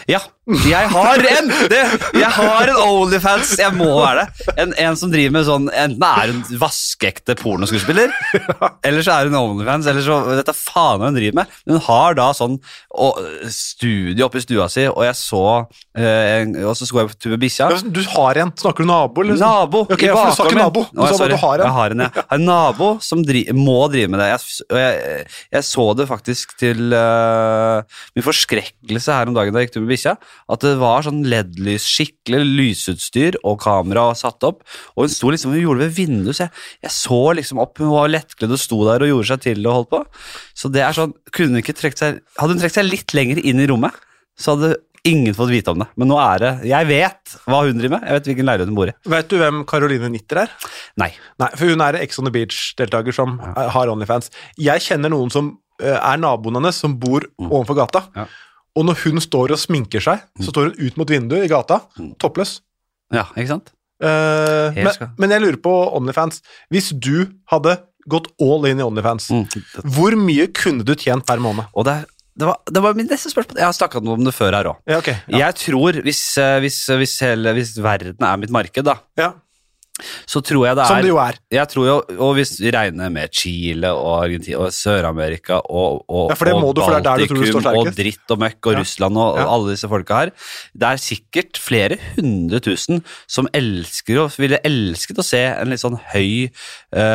Ja. Jeg har en! Det, jeg har en Onlyfans. Jeg må være det. En, en som driver med sånn Enten er hun vaskeekte pornoskuespiller, eller så er hun Onlyfans, eller så Dette er faen hva hun driver med. Men Hun har da sånn og, studie oppe i stua si, og jeg så eh, en, Og så skulle jeg på tur med bikkja.
Ja, men Du har en. Snakker du nabo? Eller?
Nabo
Ok, ja, for du sa
bakgården
ikke
min.
nabo. Du
Å, jeg-
sa bare
sorry.
du har en.
Jeg har en, ja. Jeg har en nabo som dri må drive med det. Jeg, s- og jeg, jeg så det faktisk til eh, min forskrekkelse her om dagen da jeg gikk tur med bikkja, at det var sånn LED-lys, skikkelig lysutstyr og kamera og satt opp, og hun sto liksom, hun gjorde det ved vinduet, så jeg, jeg så liksom opp, hun var lettkledd og sto der og gjorde seg til og holdt på. Så det er sånn, kunne hun ikke trekt seg, hadde hun trekt seg litt lenger inn i rommet, så hadde ingen fått vite om det. Men nå er det, jeg vet hva hun driver med, jeg vet hvilken leilighet hun bor i.
Vet du hvem Caroline Nitter er?
Nei.
Nei, for hun er en Ex on the Beach-deltaker som eh, har Onlyfans. Jeg kjenner noen som eh, er naboen hennes, som bor ovenfor gata.
Mm. Ja. Mm.
Og når hun står og sminker seg, så står hun ut mot vinduet i gata, toppløs.
Ja, ikke sant?
Eh,
Jeg
men,
Mm. skal-
men jeg lurer på Onlyfans. Hvis du hadde gått all in i
Mm.
Onlyfans, hvor mye kunne du tjent per måned?
Og det, er- det, var, det var min neste spørsmål. Jeg har snakka om det før her òg.
Ja, ok. Ja.
Jeg tror, hvis, eh, hvis, hvis, hele, hvis verden er mitt marked, da,
Ja.
så tror jeg det er
Som det jo er.
Jeg tror jo, Og hvis vi regner med Chile og Argentina og Sør-Amerika og, og,
Ja, for det
og
må du, for det er der du tror du står
Baltikum og
sterkest.
dritt og møkk og
Ja.
Russland og, og
Ja.
alle disse folka her Det er sikkert flere hundre tusen som elsker og ville elsket å se en litt sånn høy,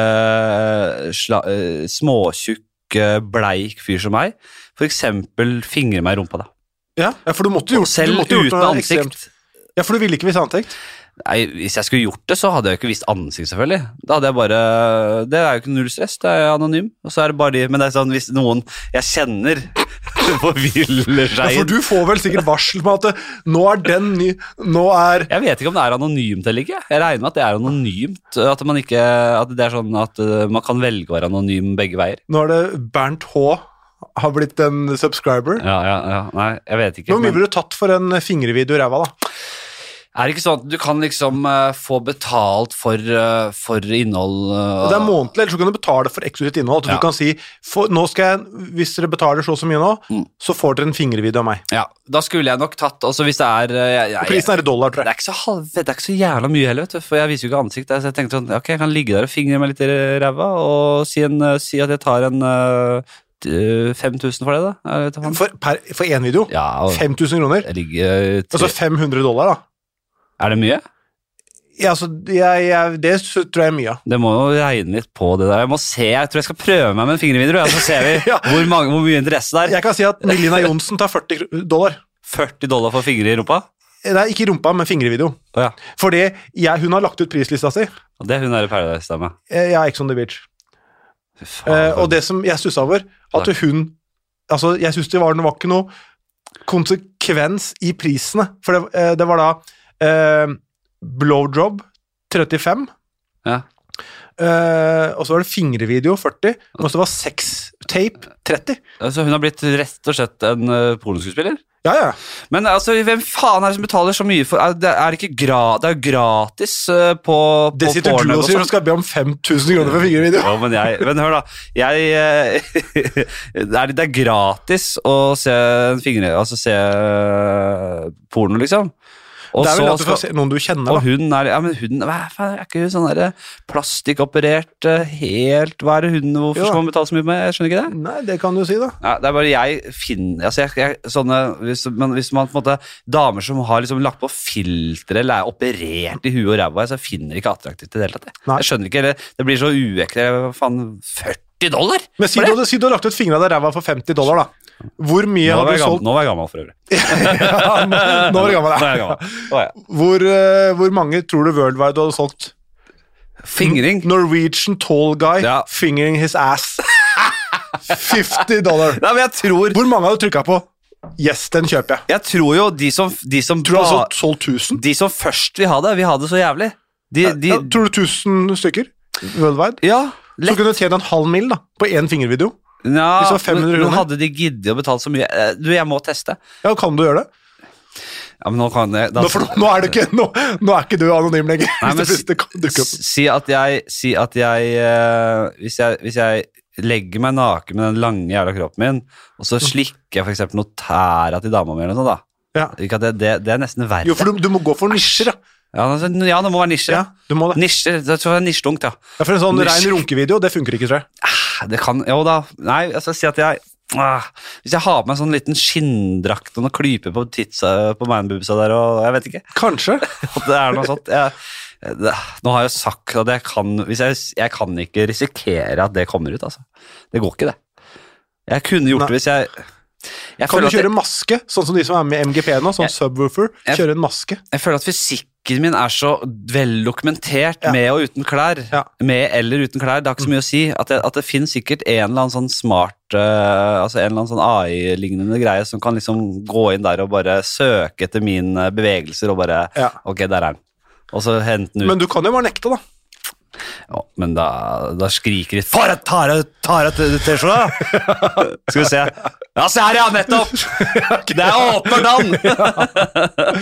eh, sla, eh, småtjukk, eh, bleik fyr som meg. For eksempel fingre meg i rumpa, da.
Ja, ja for du måtte jo gjort, du
Selv
måtte gjort
uten
noe
ansikt.
ekstremt. Ja, for du ville ikke vise ansikt.
Nei, Hvis jeg skulle gjort det, så hadde jeg jo ikke vist ansikt, selvfølgelig. Da hadde jeg bare Det er jo ikke null stress, det er anonym. Og så er det bare de Men det er sånn hvis noen jeg kjenner, forviller
Ja,
seg
for
inn
du får vel sikkert varsel med at eh, nå er den ny Nå er
Jeg vet ikke om det er anonymt eller ikke. Jeg regner med at det er anonymt. At man ikke At det er sånn at eh, man kan velge å være anonym begge veier.
Nå er det Bernt H. har blitt en subscriber.
Ja, ja, ja. Nei, jeg vet ikke.
Hvor mye
Men
ville du tatt for en fingrevideo i ræva, da?
er det ikke sånn at du kan liksom eh, få betalt for, eh, for innhold eh,
Det er månedlig, ellers så kan du betale for eksklusivt innhold. At
Ja.
du kan si for, nå skal jeg, Hvis dere betaler så og så mye nå,
Mm.
så får dere en fingrevideo av meg.
Ja. Da skulle jeg nok tatt Altså hvis det er eh, jeg, jeg,
Prisen er i dollar,
Det
tror jeg.
er, ikke så halv, det er ikke så jævla mye heller, vet du, for jeg viser jo ikke ansikt. der, Så jeg tenkte sånn, ok, jeg kan ligge der og fingre meg litt i ræva og si, en, eh, si at jeg tar en eh, t- eh, 5000 for det, da. eh, Jeg vet ikke hva.
For, per, for én video?
Ja, og
5000 kroner?
jeg ligger eh, tre-
Altså 500 dollar, da.
Er det mye?
Ja, altså, jeg, jeg, det tror jeg er mye av.
Det må jo regne litt på det der. Jeg må se, jeg tror jeg skal prøve meg med en fingervideo, ja, så ser vi
Ja.
hvor, mange, hvor mye interesse det er.
Jeg kan si at Melina Johnsen tar 40 kr- dollar.
40 dollar for fingre i rumpa?
Nei, ikke rumpa, men fingrevideo.
Å ja.
Fordi jeg, hun har lagt ut prislista si.
Og det er hun der i Paradise-dama.
Eh, Jeg er Ex on the Beach.
Fy faen,
Eh, og
for-
det som jeg stussa over, at hun Altså, jeg syns det var, det var ikke noe konsekvens i prisene. For det, eh, det var da eh, blowjob 35,
ja.
eh, og så var det fingrevideo 40, og så var sextape 30.
altså, Hun har blitt rett og slett en uh, pornoskuespiller?
Ja, ja.
Men altså, hvem faen er det som betaler så mye for er Det er ikke gra, det er jo gratis eh, på, på
Det sitter du
Pornhub
og sier, du skal be om 5000 kroner for fingrevideo.
Ja, men, jeg, men hør, da. Jeg, eh, det, er, det er gratis å se en fingre Altså se eh, porno, liksom. Og,
Det er vel
så
at du får
skal,
se noen du kjenner,
og
da.
hun er Ja, men hun hva faen, Er ikke hun sånn derre plastikkoperert, eh, helt Hva er det hun Hvorfor
Jo.
skal man betale så mye med? Jeg skjønner ikke det.
Nei, det kan du si, da.
Ja, det er bare jeg finner altså jeg, jeg, sånne, hvis, men hvis man på en måte Damer som har liksom lagt på filtre eller er operert i huet og ræva, så finner jeg ikke attraktivt i det hele tatt. jeg.
Nei.
Jeg skjønner ikke, eller, Det blir så uekte. Hva Faen, 40 dollar?
Men si
for
du,
det?
hadde- si du har lagt ut fingra av ræva for 50 dollar, da. Hvor mye
Nå var
hadde
jeg
du
gammel,
solgt?
nå var jeg gammel for øvrig.
Ja, nå nå var du
Nå
gammel,
er jeg
ja.
gammel. Å, ja.
Hvor, eh, hvor mange tror du worldwide du hadde solgt?
Fingring.
Norwegian tall guy
Ja.
fingering his ass. 50 dollar.
Nei, men jeg tror,
Hvor mange hadde du trykka på? Yes, den kjøper jeg.
jeg tror jo de som, de, som
Tror du hadde
ba-
solgt- solgt 1000?
de som først vil ha det, vil ha det så jævlig. De, de,
Ja, tror du 1000 stykker worldwide?
ja, lett.
Så kunne du tjent en halv mil da, på én fingervideo.
Ja,
Hvis det var 500
men- men
kroner.
Hadde de giddet å betale så mye? Eh, Du, jeg må teste.
Ja, kan du gjøre det?
Ja, men nå kan jeg da-
Nå, for, nå, er, du ikke, nå, nå er ikke du anonym lenger.
Nei, men
hvis det plutselig kan dukke opp.
Si at jeg, si at jeg, eh, hvis jeg Hvis jeg legger meg naken med den lange jævla kroppen min, og
Mm.
så slikker jeg for eksempel noe tæra til dama mi eller noe sånt,
Ja.
da. Ikke at det, det, det er nesten verre.
Jo, for du, du må gå for nisjer, da.
ja, altså, ja, det må være nisjer.
Ja, du må det.
Nisjer, det tror jeg er nisjedunk, ja.
Ja, for en sånn
Nisjer.
rein runkevideo, det funker ikke, tror jeg.
Det kan Jo da. Nei, altså, si at jeg ah, Hvis jeg har på meg en sånn liten skinndrakt og noen klyper på, titsa- på manboobsa der og jeg vet ikke
Kanskje.
At det er noe sånt. Jeg, det, nå har jeg jo sagt at jeg kan hvis jeg, jeg kan ikke risikere at det kommer ut, altså. Det går ikke, det. Jeg kunne gjort
Nei.
det hvis jeg, jeg
Kan
føler
du
at
kjøre maske, sånn som de som er med i MGP nå, sånn
Jeg-
subwoofer?
jeg-
Kjøre en maske?
Jeg føler at fysikken min er så veldokumentert
Ja.
med og uten klær.
Ja. Med
Eller uten klær, det har ikke så mye å si. At det, at det finnes sikkert en eller annen sånn smart eh, Altså en eller annen sånn AI-lignende greie som kan liksom gå inn der og bare søke etter mine bevegelser og bare
Ja.
Ok, der er den. Og så hente den ut.
Men du kan jo bare nekte, da.
Ja, men da, da skriker de 'For et tare, tare t- T-skjorte!' Skal vi se. Ja, se her, ja! Nettopp! Det er åpen dann!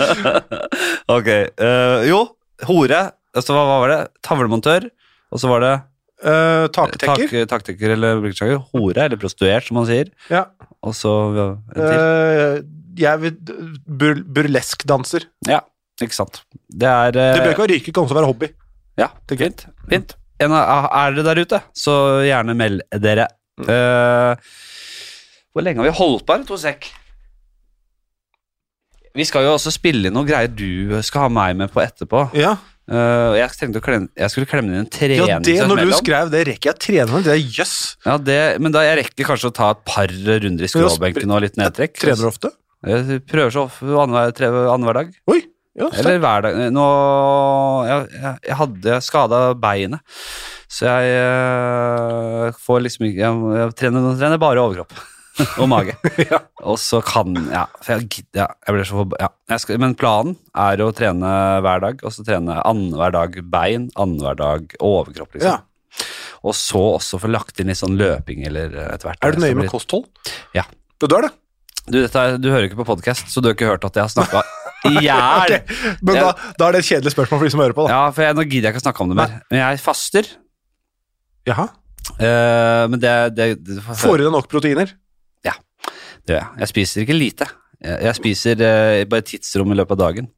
ok. eh, jo, hore. Altså, hva, hva var det? Tavlemontør. Og så var det
Eh, taktekker.
tak, taktiker eller blikksjager. Hore eller prostituert, som man sier.
Ja.
Og så ja, en til.
Eh, jeg vil bur Burleskdanser.
Ja, ikke sant. Det er
Det
eh,
bør ikke være yrke, det kan også være hobby.
Ja,
Det er
fint. fint. En av, er dere der ute, så gjerne meld dere.
Mm.
Eh, hvor lenge har vi holdt på her? To sek. Vi skal jo også spille inn noen greier du skal ha meg med på etterpå.
Ja,
Eh, jeg tenkte å klemme, jeg skulle klemme inn en trening
ja det Når du
mellom.
skrev det, rekker jeg å trene meg? Det er jøss.
Ja, det, men da jeg rekker kanskje å ta et par runder i
Men da
skråbenken og litt nedtrekk.
Trener du ofte?
Jeg prøver så ofte annenhver tre- annenhver dag.
Oi! Ja, sterkt.
Eller hver dag. Nå, jeg, jeg, jeg hadde jeg skada beinet, så jeg eh, får liksom ikke Jeg, jeg trener, jeg trener bare overkropp og mage. Og så kan Ja, for jeg gidder ja, Jeg blir så forba... Ja. Jeg skal, men planen er å trene hver dag, og så trene annenhver dag bein, annenhver dag overkropp,
ja.
liksom. Og så også få lagt inn litt sånn løping eller etter hvert.
Er du nøye
Så
med
blir-
kosthold?
Ja.
Ja, Du er det?
Du, dette er, du hører ikke på podkast, så du har ikke hørt at jeg har snakka i hjel.
Ok, Men da,
Ja.
da er det et kjedelig spørsmål for de som hører på. da.
Ja, for jeg, nå gidder jeg ikke å snakke om det mer. Men jeg faster.
Jaha.
eh, men det, det, det
Får i deg nok proteiner?
det gjør jeg. Jeg spiser ikke lite. Jeg, jeg spiser eh, bare tidsrom i løpet av dagen.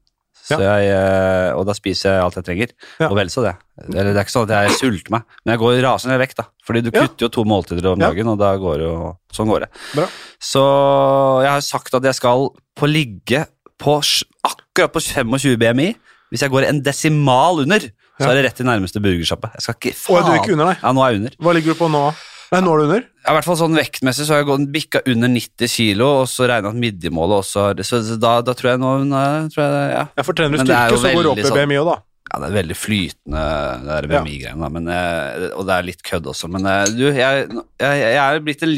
Så jeg, eh, og da spiser jeg alt jeg trenger.
Ja.
Og vel så det. Eller, det er ikke sånn at jeg sulter meg, men jeg går rasende ned i vekt. da. Fordi du
Ja.
kutter jo to måltider om
Ja.
dagen, og da går jo, sånn går det.
Bra.
Så jeg har sagt at jeg skal på ligge på sj- akkurat på 25 BMI. Hvis jeg går en desimal under, så
Ja.
er det rett til nærmeste burgersjappe. Jeg skal ikke
Og er du
faen
ikke under, nei?
Ja, nå er jeg under.
Hva ligger du på nå? Nei, Når du under?
Ja, I hvert fall sånn vektmessig så har jeg gått bikka under 90 kilo, og så regna at midjemålet også har Så så da, da tror jeg nå nå tror jeg, ja.
Ja, for trener du
Men det er
styrke,
jo
så går du opp
veldig
i
sånn-
BMI òg, da.
ja, det er veldig flytende, det der
Ja.
BMI-greiene, da, men, eh, og det er litt kødd også, men eh, du, jeg, jeg, jeg er blitt en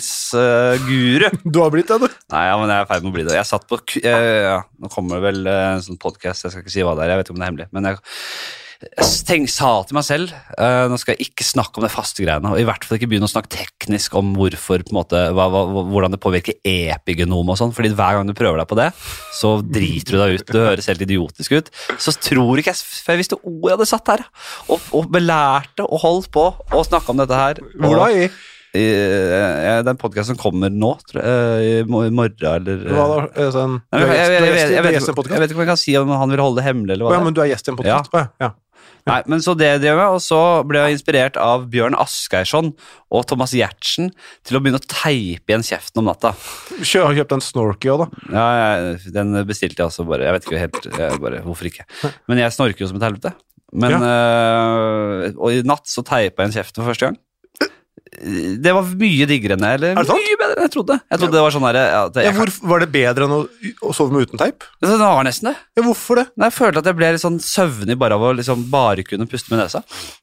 livsstilsguru.
Du har blitt det, du.
Nei, ja, men jeg er i ferd med å bli det. Jeg satt på ku- eh, ja, Nå kommer det vel eh, en sånn podkast, jeg skal ikke si hva det er, jeg vet ikke om det er hemmelig. Men jeg, jeg tenk, sa til meg selv eh, nå skal jeg ikke snakke om det faste greiene, og i hvert fall ikke begynne å snakke teknisk om hvorfor, på en måte, hva, hva, hvordan det påvirker epigenomet og sånn, fordi hver gang du prøver deg på det, så driter du deg ut. Du høres helt idiotisk ut. Så tror ikke jeg, for jeg visste ordet jeg hadde satt her, og, og belærte og holdt på å snakke om dette her. og-
Hvor da? I
i, eh, den podkasten kommer nå, tror jeg, eh, i mo- i morgen eller eh.
hva da? Eh, Sånn,
Nei, men jeg, jeg, jeg, jeg, vet- jeg,
du er
vet
gjest i en
ikke- jeg
podkast?
vet ikke om jeg kan si om han vil holde det hemmelig eller hva.
Å ja,
det er.
men du er gjest i en podkast? Å ja. ja.
Nei, men så det drev jeg, og så ble jeg inspirert av Bjørn Asgeirsson og Thomas Giertsen til å begynne å teipe igjen kjeften om natta.
Kjø, har kjøpt en snorky òg, da.
Ja, jeg, den bestilte jeg også bare. Jeg vet ikke helt jeg bare, hvorfor ikke. Men jeg snorker jo som et helvete. Men, eh, og i natt så teipa jeg en kjeft for første gang. Det var mye diggere enn jeg, eller
Er det sant?
mye bedre enn jeg trodde. Jeg trodde det var sånn der, ja, at jeg,
Ja, hvor, var det bedre enn å, å sove med uten teip?
Men Det var nesten det.
Ja, hvorfor det?
Nei, Jeg følte at jeg ble litt sånn søvnig bare av å liksom bare kunne puste med nesa.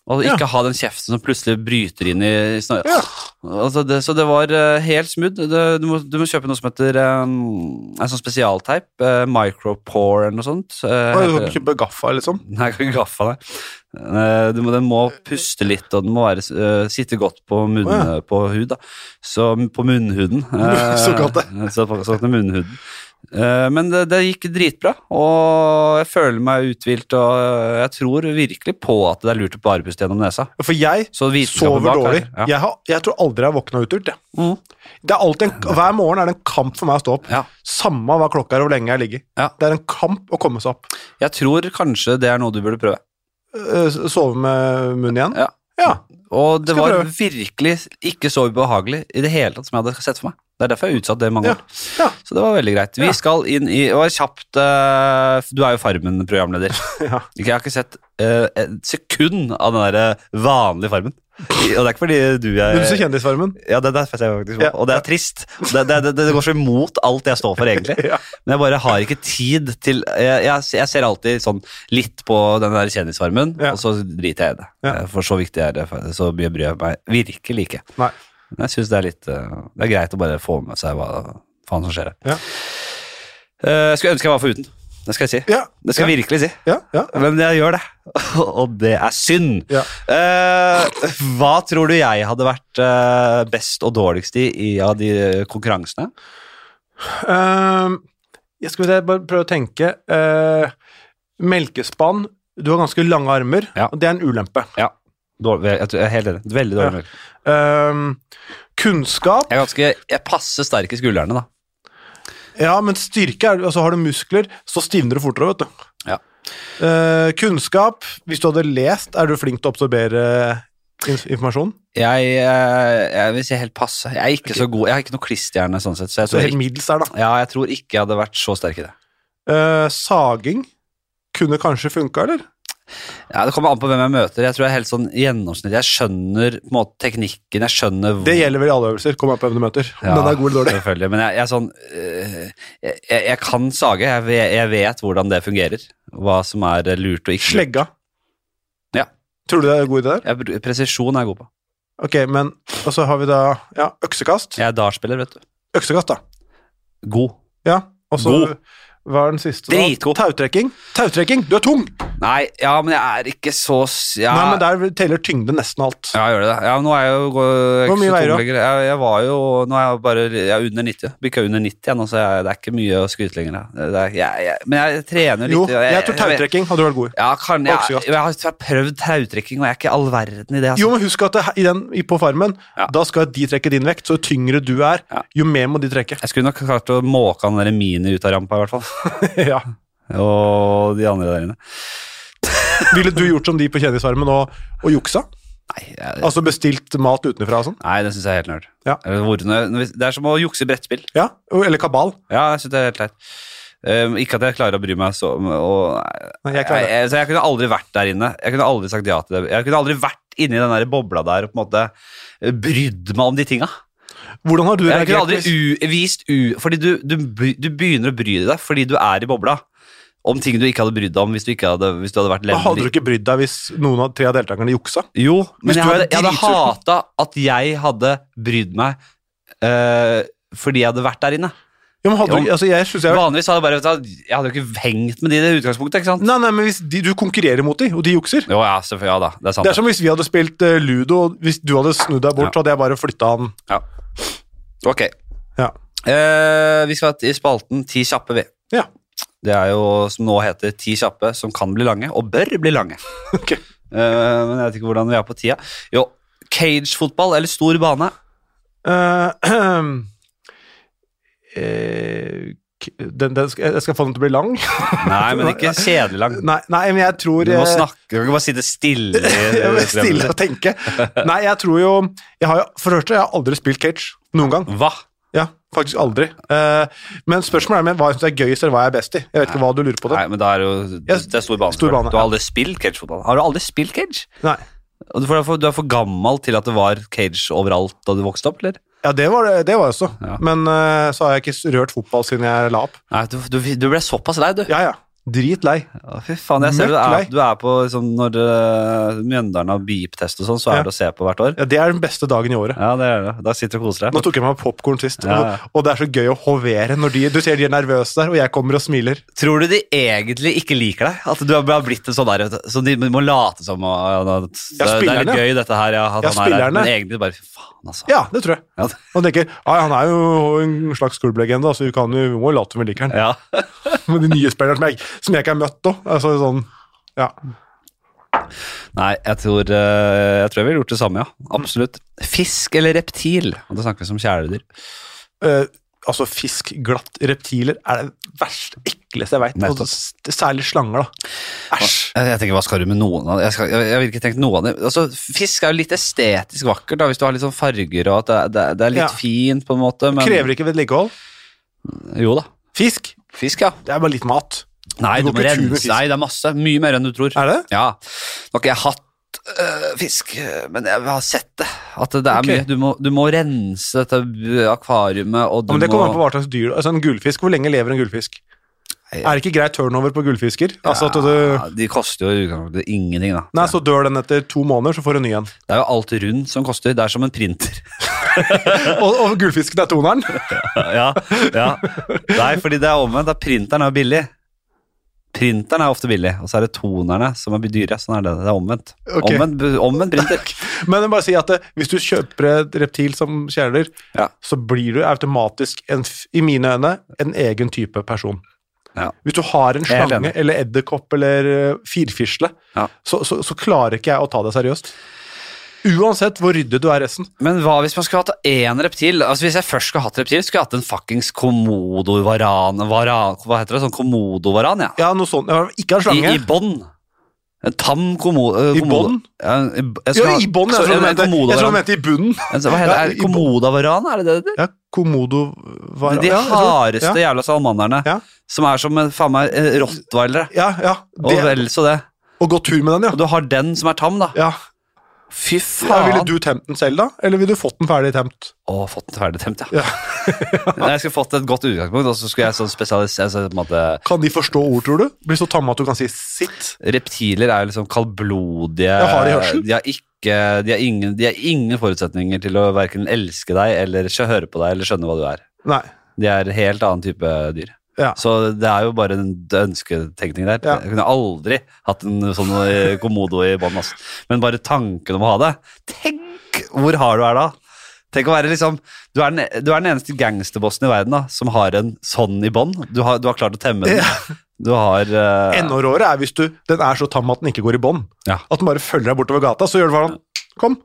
Og
Ja.
ikke ha den kjeften som plutselig bryter inn i snø.
Ja.
Altså det, så det var eh, helt smooth. Det, du, må, du må kjøpe noe som heter eh, en sånn spesialteip. Uh, Micropore eller noe sånt. eh,
Var
heter
det
det.
ikke begaffa, liksom?
Nei, jeg kan ikke gaffe deg. Eh, du må, den må puste litt, og den må være, eh, sitte godt på, munn,
Å,
på hud. Da. Så, på munnhuden. Eh,
Såkalte.
så- Såkalte munnhuden. Eh, men det, det gikk dritbra, og jeg føler meg uthvilt, og jeg tror virkelig på at det er lurt å bare puste gjennom nesa.
For jeg
Så vitenskapen
sover
bak her-
dårlig.
Ja.
Jeg, har, jeg tror aldri jeg har våkna uthvilt. jeg.
Mm.
Det er alltid en- Hver morgen er det en kamp for meg å stå opp.
Ja.
Samme hva klokka er og hvor lenge jeg ligger.
Ja.
Det er en kamp å komme seg opp.
Jeg tror kanskje det er noe du burde prøve.
Eh, Sove med munnen igjen.
Ja.
Ja.
Og det
Skal
var
prøve.
virkelig ikke så ubehagelig i det hele tatt som jeg hadde sett for meg. Det er derfor jeg har utsatt det i mange
Ja.
år.
Ja.
Så det var veldig greit. Vi
Ja.
skal inn i Og kjapt eh, Du er jo Farmen-programleder.
Ja.
Ikke- Jeg har ikke sett eh, et sekund av den der eh, vanlige Farmen. Og det er ikke fordi du
Men du ser
er
kjendisfarmen.
ja, det er derfor jeg faktisk
Ja.
Og det er trist. Det, det, det, det går så imot alt jeg står for, egentlig.
Ja.
Men jeg bare har ikke tid til Jeg, jeg, jeg ser alltid sånn litt på den der kjendisfarmen,
Ja.
og så driter jeg i det. Eh,
Ja.
For så viktig er det, for- så mye bryr jeg meg virkelig ikke.
Nei.
Men jeg syns det er litt eh, Det er greit å bare få med seg hva faen som skjer her.
Ja.
Eh, jeg skulle ønske jeg var foruten. Det skal jeg si.
Ja.
Det skal jeg virkelig si.
Ja. Ja.
Men jeg gjør det, og det er synd.
Ja.
Eh, hva tror du jeg hadde vært eh, best og dårligst i, i av de konkurransene?
Ehm, jeg skal bare- bare prøve å tenke. Eh, melkespann. Du har ganske lange armer,
Ja.
og det er en ulempe.
Dårlig, jeg tror- jeg er helt enig. Veldig dårlig.
Ja.
melk.
Ehm, kunnskap.
Jeg, er ganske, jeg passer sterk i skuldrene, da.
Ja, men styrke er altså Har du muskler, så stivner du fortere, vet du.
Ja.
Eh, kunnskap. Hvis du hadde lest, er du flink til å absorbere eh, inf- informasjon?
Jeg, eh, jeg vil si helt passe. Jeg er ikke så god. Jeg har ikke noe klisthjerne, sånn sett. Så jeg
Så helt
tror,
middels der, da.
ja, jeg tror ikke jeg hadde vært så sterk i det.
Eh, saging. Kunne kanskje funka, eller?
Ja, Det kommer an på hvem jeg møter. Jeg tror jeg er helt sånn gjennomsnittlig. Jeg skjønner på en måte teknikken. Jeg skjønner hvor-
Det gjelder vel i alle øvelser. Kom an på hvem du møter. Om
Ja,
den er god eller dårlig.
Selvfølgelig, men jeg, jeg er sånn øh, jeg, jeg, jeg kan sage, jeg vet, jeg vet hvordan det fungerer. Hva som er lurt og ikke lurt.
Slegga.
Ja.
Tror du det er en god idé der?
Jeg, br- presisjon er jeg god på.
Ok, men Og så har vi da ja, øksekast.
Jeg er dartspiller, vet du.
Øksekast, da.
God.
Ja, og så
God.
hva er den siste? da?
Dritgod.
Tautrekking. Tautrekking! Du er tung!
Nei, ja, men jeg er ikke så s- ja,
Nei, men der teller tyngde nesten alt.
ja, gjør det det? Ja, men nå er jeg jo gå- jeg er
Hvor
ikke
mye
så
veier
tung
du?
lenger. Jeg, jeg var jo Nå er jeg bare jeg er under 90. Bikka under 90 igjen, så jeg, det er ikke mye å skryte lenger. da. Det er, jeg, jeg, men jeg trener litt.
Jo,
og
jeg
jeg-
tror tautrekking hadde vært god.
Ja, kan, jeg, jeg,
Oksegass.
har- jeg har prøvd tautrekking, og jeg er ikke all verden i det.
Jo,
Altså.
men husk at det, i den, i- på farmen,
Ja.
da skal de trekke din vekt. Så jo tyngre du er,
Ja.
jo mer må de trekke.
Jeg skulle nok klart å måke han der mini ut av rampa, i hvert fall.
ja.
Og de andre der inne.
Ville du gjort som de på Kjendisfarmen og, og juksa?
Nei, jeg,
Altså bestilt mat utenfra og sånn?
nei det syns jeg er helt nerd.
Ja.
Eller hvor- når- når vi- Det er som å jukse i brettspill.
Ja, Eller kabal?
Ja, jeg synes det er helt leit. Um, ikke at jeg klarer å bry meg så om- og,
Nei,
jeg,
jeg klarer det.
jeg, så jeg kunne aldri vært der inne. Jeg kunne aldri sagt ja til det. Jeg kunne aldri vært inni den der bobla der og på en måte eh, brydd meg om de tinga.
Hvordan har du
Jeg kunne aldri
reagert? hvis-
u vist u... Fordi du, du, bry- du begynner å bry deg fordi du er i bobla om ting du ikke hadde brydd deg om hvis du, ikke hadde, hvis du hadde vært
Hadde du
levd
ikke brydd deg hvis noen av tre av deltakerne juksa?
Jo, men
du
jeg hadde,
hadde
jeg hadde
dritsulten?
hata at jeg hadde brydd meg eh, fordi jeg hadde vært der inne.
Ja, men hadde
Jo.
du, altså, jeg synes jeg
Vanligvis hadde jeg bare vet du, hva, Jeg hadde jo ikke hengt med de i det utgangspunktet, ikke sant?
Nei, nei, men hvis de, du konkurrerer mot de, og de jukser
Jo, ja, selvfølgelig. Ja da, det er sant.
Det er som hvis vi hadde spilt eh, ludo, og hvis du hadde snudd deg bort, så hadde jeg bare flytta han
Ok.
Ja.
Eh, vi skal til spalten Ti kjappe, vi.
Ja.
Det er jo som nå heter Ti kjappe, som kan bli lange, og bør bli lange.
Ok.
Eh, men jeg vet ikke hvordan vi er på tida. Jo, cagefotball eller stor bane?
Eh, eh, k- den, den skal, jeg skal få den til å bli lang.
Nei, men ikke kjedelig lang.
Nei, nei men jeg tror
Du må
eh,
snakke, du kan ikke bare sitte stille.
jeg må
i-
stille og tenke. Nei, jeg tror jo jeg har, jo- For det første, jeg har aldri spilt cage. Noen gang.
Hva?
Ja, faktisk aldri. Eh, men spørsmålet er med hva jeg syns er gøyest, eller hva jeg er best i. Jeg vet ikke hva du lurer på. det.
Nei, men da er jo
Ja,
Det er stor bane.
stor bane,
Du har aldri spilt cagefotball. Har du aldri spilt cage?
Nei.
Og Du for- du er for, du er for gammel til at det var cage overalt da du vokste opp, eller?
Ja, det var det, det var jeg også.
Ja.
Men eh, så har jeg ikke rørt fotball siden jeg la opp.
Nei, du, du, du ble såpass lei, du.
Ja, ja. Dritlei.
Ja, fy faen, jeg ser du
Mørk
er,
lei.
du er på liksom, Når eh, Mjøndalen har beep-test og sånn, så er
Ja.
det å se på hvert år.
Ja, det er den beste dagen i året.
Ja, det er det. Da sitter du og koser
Nå
deg.
tok jeg meg popkorn sist,
Ja, ja.
og, og det er så gøy å hovere når de Du ser de er nervøse der, og jeg kommer og smiler.
Tror du de egentlig ikke liker deg? At du har bare blitt en sånn der vet du, som de må late som og, ja, det,
Ja,
det er litt
spillerne.
gøy, dette her. Ja, at han er
Ja,
der. Men
spillerne.
egentlig bare Fy faen, altså.
Ja, det tror jeg.
Ja.
Og tenker ja, han er jo en slags klubblegende, så vi, kan, jo- vi må jo late som vi liker han.
Ja.
Men de nye spillerne som jeg, som jeg ikke har møtt da, altså sånn Ja.
Nei, jeg tror, eh, jeg tror jeg ville gjort det samme, ja. Absolutt. Fisk eller reptil? Og da snakker vi som kjæledyr.
Eh, altså fisk, glatt, reptiler er det verst ekleste jeg veit.
Nettopp.
Særlig slanger, da. Æsj.
Jeg, jeg tenker, hva skal du med noen av det? Jeg, skal, jeg, jeg vil ikke tenke noen av det. Altså, fisk er jo litt estetisk vakkert, da, hvis du har litt sånn farger og at det, er- det, er- det er litt
Ja.
fint, på en måte. Men,
Krever ikke vedlikehold.
Jo da.
Fisk,
Fisk, ja.
det er bare litt mat.
Nei,
Du
du
går
må
ikke tur med
rense.
fisk.
Nei, det er masse. Mye mer enn du tror.
Er det?
Ja. Nå har ikke jeg hatt øh, fisk, øh, men jeg har sett det. At det er
Ok.
mye. Du må, du må rense dette øh, akvariet, og
Ja,
du
men Det
må
kommer an på hva slags dyr altså En gullfisk, hvor lenge lever en gullfisk?
Ja.
Er det ikke grei turnover på gullfisker? Altså at du...
ja, De koster jo i utgangspunktet ingenting, da.
Nei, så dør den etter to måneder, så får du en ny en.
Det er jo alt rundt som koster. Det er som en printer.
Og, og gullfisken er toneren.
ja, ja. Nei, fordi det er omvendt. Da printeren er jo billig. Printeren er ofte billig, og så er det tonerne som er dyre. Sånn er det. Det er omvendt.
Ok.
Omvendt, omvendt printer.
Men jeg må bare si at eh, hvis du kjøper et reptil som kjæledyr,
Ja.
så blir du automatisk, en, f- i mine øyne, en egen type person.
Ja.
Hvis du har en
er helt
slange
enig.
eller edderkopp eller eh, firfisle,
Ja.
så, så, så klarer ikke jeg å ta det seriøst. Uansett hvor ryddig du er resten.
Men hva hvis man skulle hatt én reptil? Altså Hvis jeg først skulle hatt reptil, skulle jeg hatt en fuckings komodovaran varan, Hva heter det? Sånn komodovaran, ja.
Ja, noe sånt. Ja, Ikke en
I,
slange.
i bånd. En tam komo, eh,
I bånd?
Ja, en- jeg
ja,
skulle ha-
i bånn. Jeg
så-
tror
en-
du
en
mente, jeg tror du
komodovaran.
mente i bunnen.
En sånn- Hva heter det?
Ja,
Er det?
i bånd.
Komodavaran, er det det det heter?
Ja, komodo var
De
ja, jeg tror-
hardeste jævla salamanderne,
Ja.
som er som eh, faen meg eh, rottweilere.
Ja, ja.
Og
Det,
vel så det.
og gå tur med den, ja.
Og du har den som er tam, da.
ja.
Fy
ja ville
faen!
du temt den selv, da? Eller ville du fått den ferdig temt?
Å, fått den ferdig temt, ja.
Ja.
Nei, jeg skulle fått et godt utgangspunkt, og så skulle jeg sånn spesialisere så på en måte,
Kan de forstå ord, tror du? Blir så tamme at du kan si sitt.
Reptiler er jo liksom kaldblodige
Ja, har de hørsel?
De har ikke De har ingen, de har ingen forutsetninger til å verken elske deg eller ikke høre på deg eller skjønne hva du er.
Nei.
De er helt annen type dyr.
Ja.
Så det er jo bare en ønsketenkning der.
Ja.
Jeg kunne aldri hatt en sånn eh, komodo i bånn. ass. Men bare tanken om å ha det Tenk hvor hard du er da! Tenk å være liksom Du er den, du er den eneste gangsterbossen i verden da som har en sånn i bånn. Du, har- du har klart å temme den.
Ja.
Du har eh,
Enda råere er hvis du, den er så tam at den ikke går i bånd.
Ja.
At den bare følger deg bortover gata, så gjør du bare sånn Kom.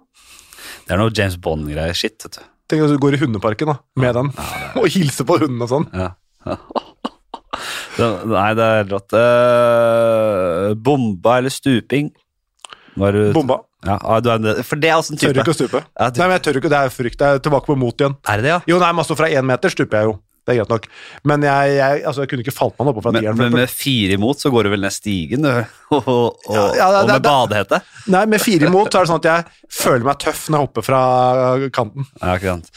Det er noe James Bond-greier. Shit, vet du.
Tenk at du går i hundeparken da, med den, og hilser på hunden og sånn.
Ja. det, nei, det er helt rått. Eh, bomba eller stuping? Var du,
Bomba.
Ja, ah, du er en, for det er også en
Tør
type.
ikke å stupe.
Ja, du-
Nei, men jeg tør ikke, det er frykt. Jeg er tilbake på mot igjen.
Er det det, ja?
Jo, nei, men altså fra én meter stuper jeg jo. Det er greit nok. Men jeg, jeg, altså, jeg kunne ikke falt meg noe oppå fra
Men,
tieren. for
men
eksempel.
med fire imot så går du vel ned stigen, du. Og, og, og,
Ja, ja, det-
og med
det-
badehette.
Nei, med fire imot så er det sånn at jeg føler meg tøff når jeg hopper fra kanten.
Ja, ikke sant.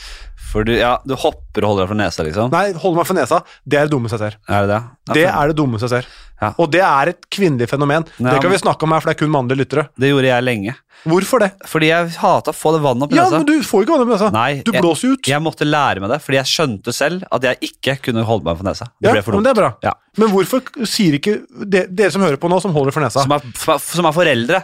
For du, ja, du hopper og holder deg for nesa, liksom.
Nei, holder meg for nesa. Det er det dummeste jeg ser.
Er det det? Ja,
Det
for-
er det dummeste jeg ser.
Ja.
Og det er et kvinnelig fenomen.
Ja,
det kan
men-
vi snakke om her, for det er kun mannlige lyttere.
det gjorde jeg lenge.
Hvorfor det?
Fordi jeg hata å få det vannet opp i
Ja,
nesa.
men du får jo ikke vann i nesa.
Nei,
Du
jeg-
blåser jo ut.
Jeg måtte lære meg det, fordi jeg skjønte selv at jeg ikke kunne holde meg for nesa. Det
Ja,
ble for
men
dumt.
det er bra.
Ja.
Men hvorfor sier ikke de, dere som hører på nå, som holder for nesa
Som, er, som er- som er foreldre.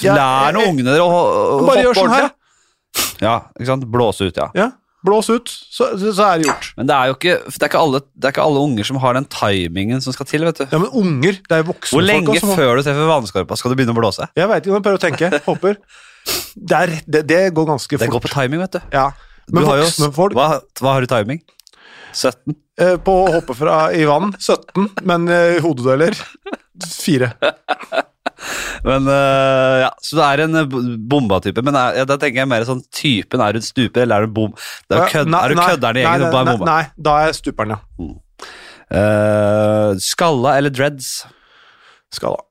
Ja,
Lær nå
eh, eh,
ungene dere å å- å
Bare gjør
hoppe
sånn her.
ordentlig. Ja, ikke sant? Blåse ut, ja.
Ja, Blås ut, så, så så er det gjort.
Men det er jo ikke, det er ikke, alle, det er ikke alle unger som har den timingen som skal til, vet du.
Ja, Men unger, det er jo voksne
Hvor lenge
folk også.
før du treffer vannskorpa skal du begynne å blåse?
Jeg veit ikke, jeg prøver å tenke. Håper. Det, er, rett- det, det går ganske fort.
Det går på timing, vet du.
Ja. Men
du har jo-
voksne folk
hva, hva har du timing? 17?
eh, på å hoppe fra i vann 17, men eh, i hodedeler 4.
Men øh, ja, Så du er en øh, b- bomba-type. Men er, ja, da tenker jeg mer sånn typen er du en stuper, eller er du en bom... Det er, jo kødd, er du kødderen i gjengen og bare
Nei,
bomba?
nei, da er jeg stuperen, ja.
Eh, skalla eller dreads?
Skal da.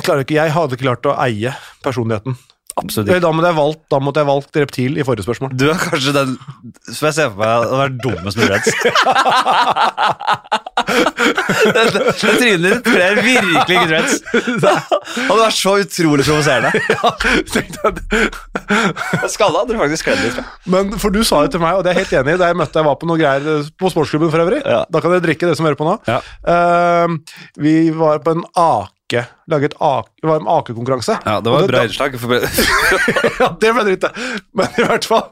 Jeg, klarer ikke, jeg hadde ikke klart å eie personligheten. Eh,
Absolutt
Da måtte jeg valgt, da måtte jeg valgt reptil i forrige spørsmål.
Du er kanskje den som jeg ser for meg hadde vært dummest med dreads. det, det trynet ditt kler virkelig ikke dreads. Hadde vært så utrolig provoserende.
Tenkte jeg det.
Skalla hadde du faktisk kledd litt.
Men for du sa jo til meg, og det er jeg helt enig i, da jeg møtte jeg var på noen greier eh, på sportsklubben for øvrig,
Ja.
da kan dere drikke det som hører på nå.
Ja.
Eh, vi var på en ake, laget ake, det var en akekonkurranse.
Ja, det var
Og
et bra innslag. for-
ja, det ble dritt, det. Men i hvert fall,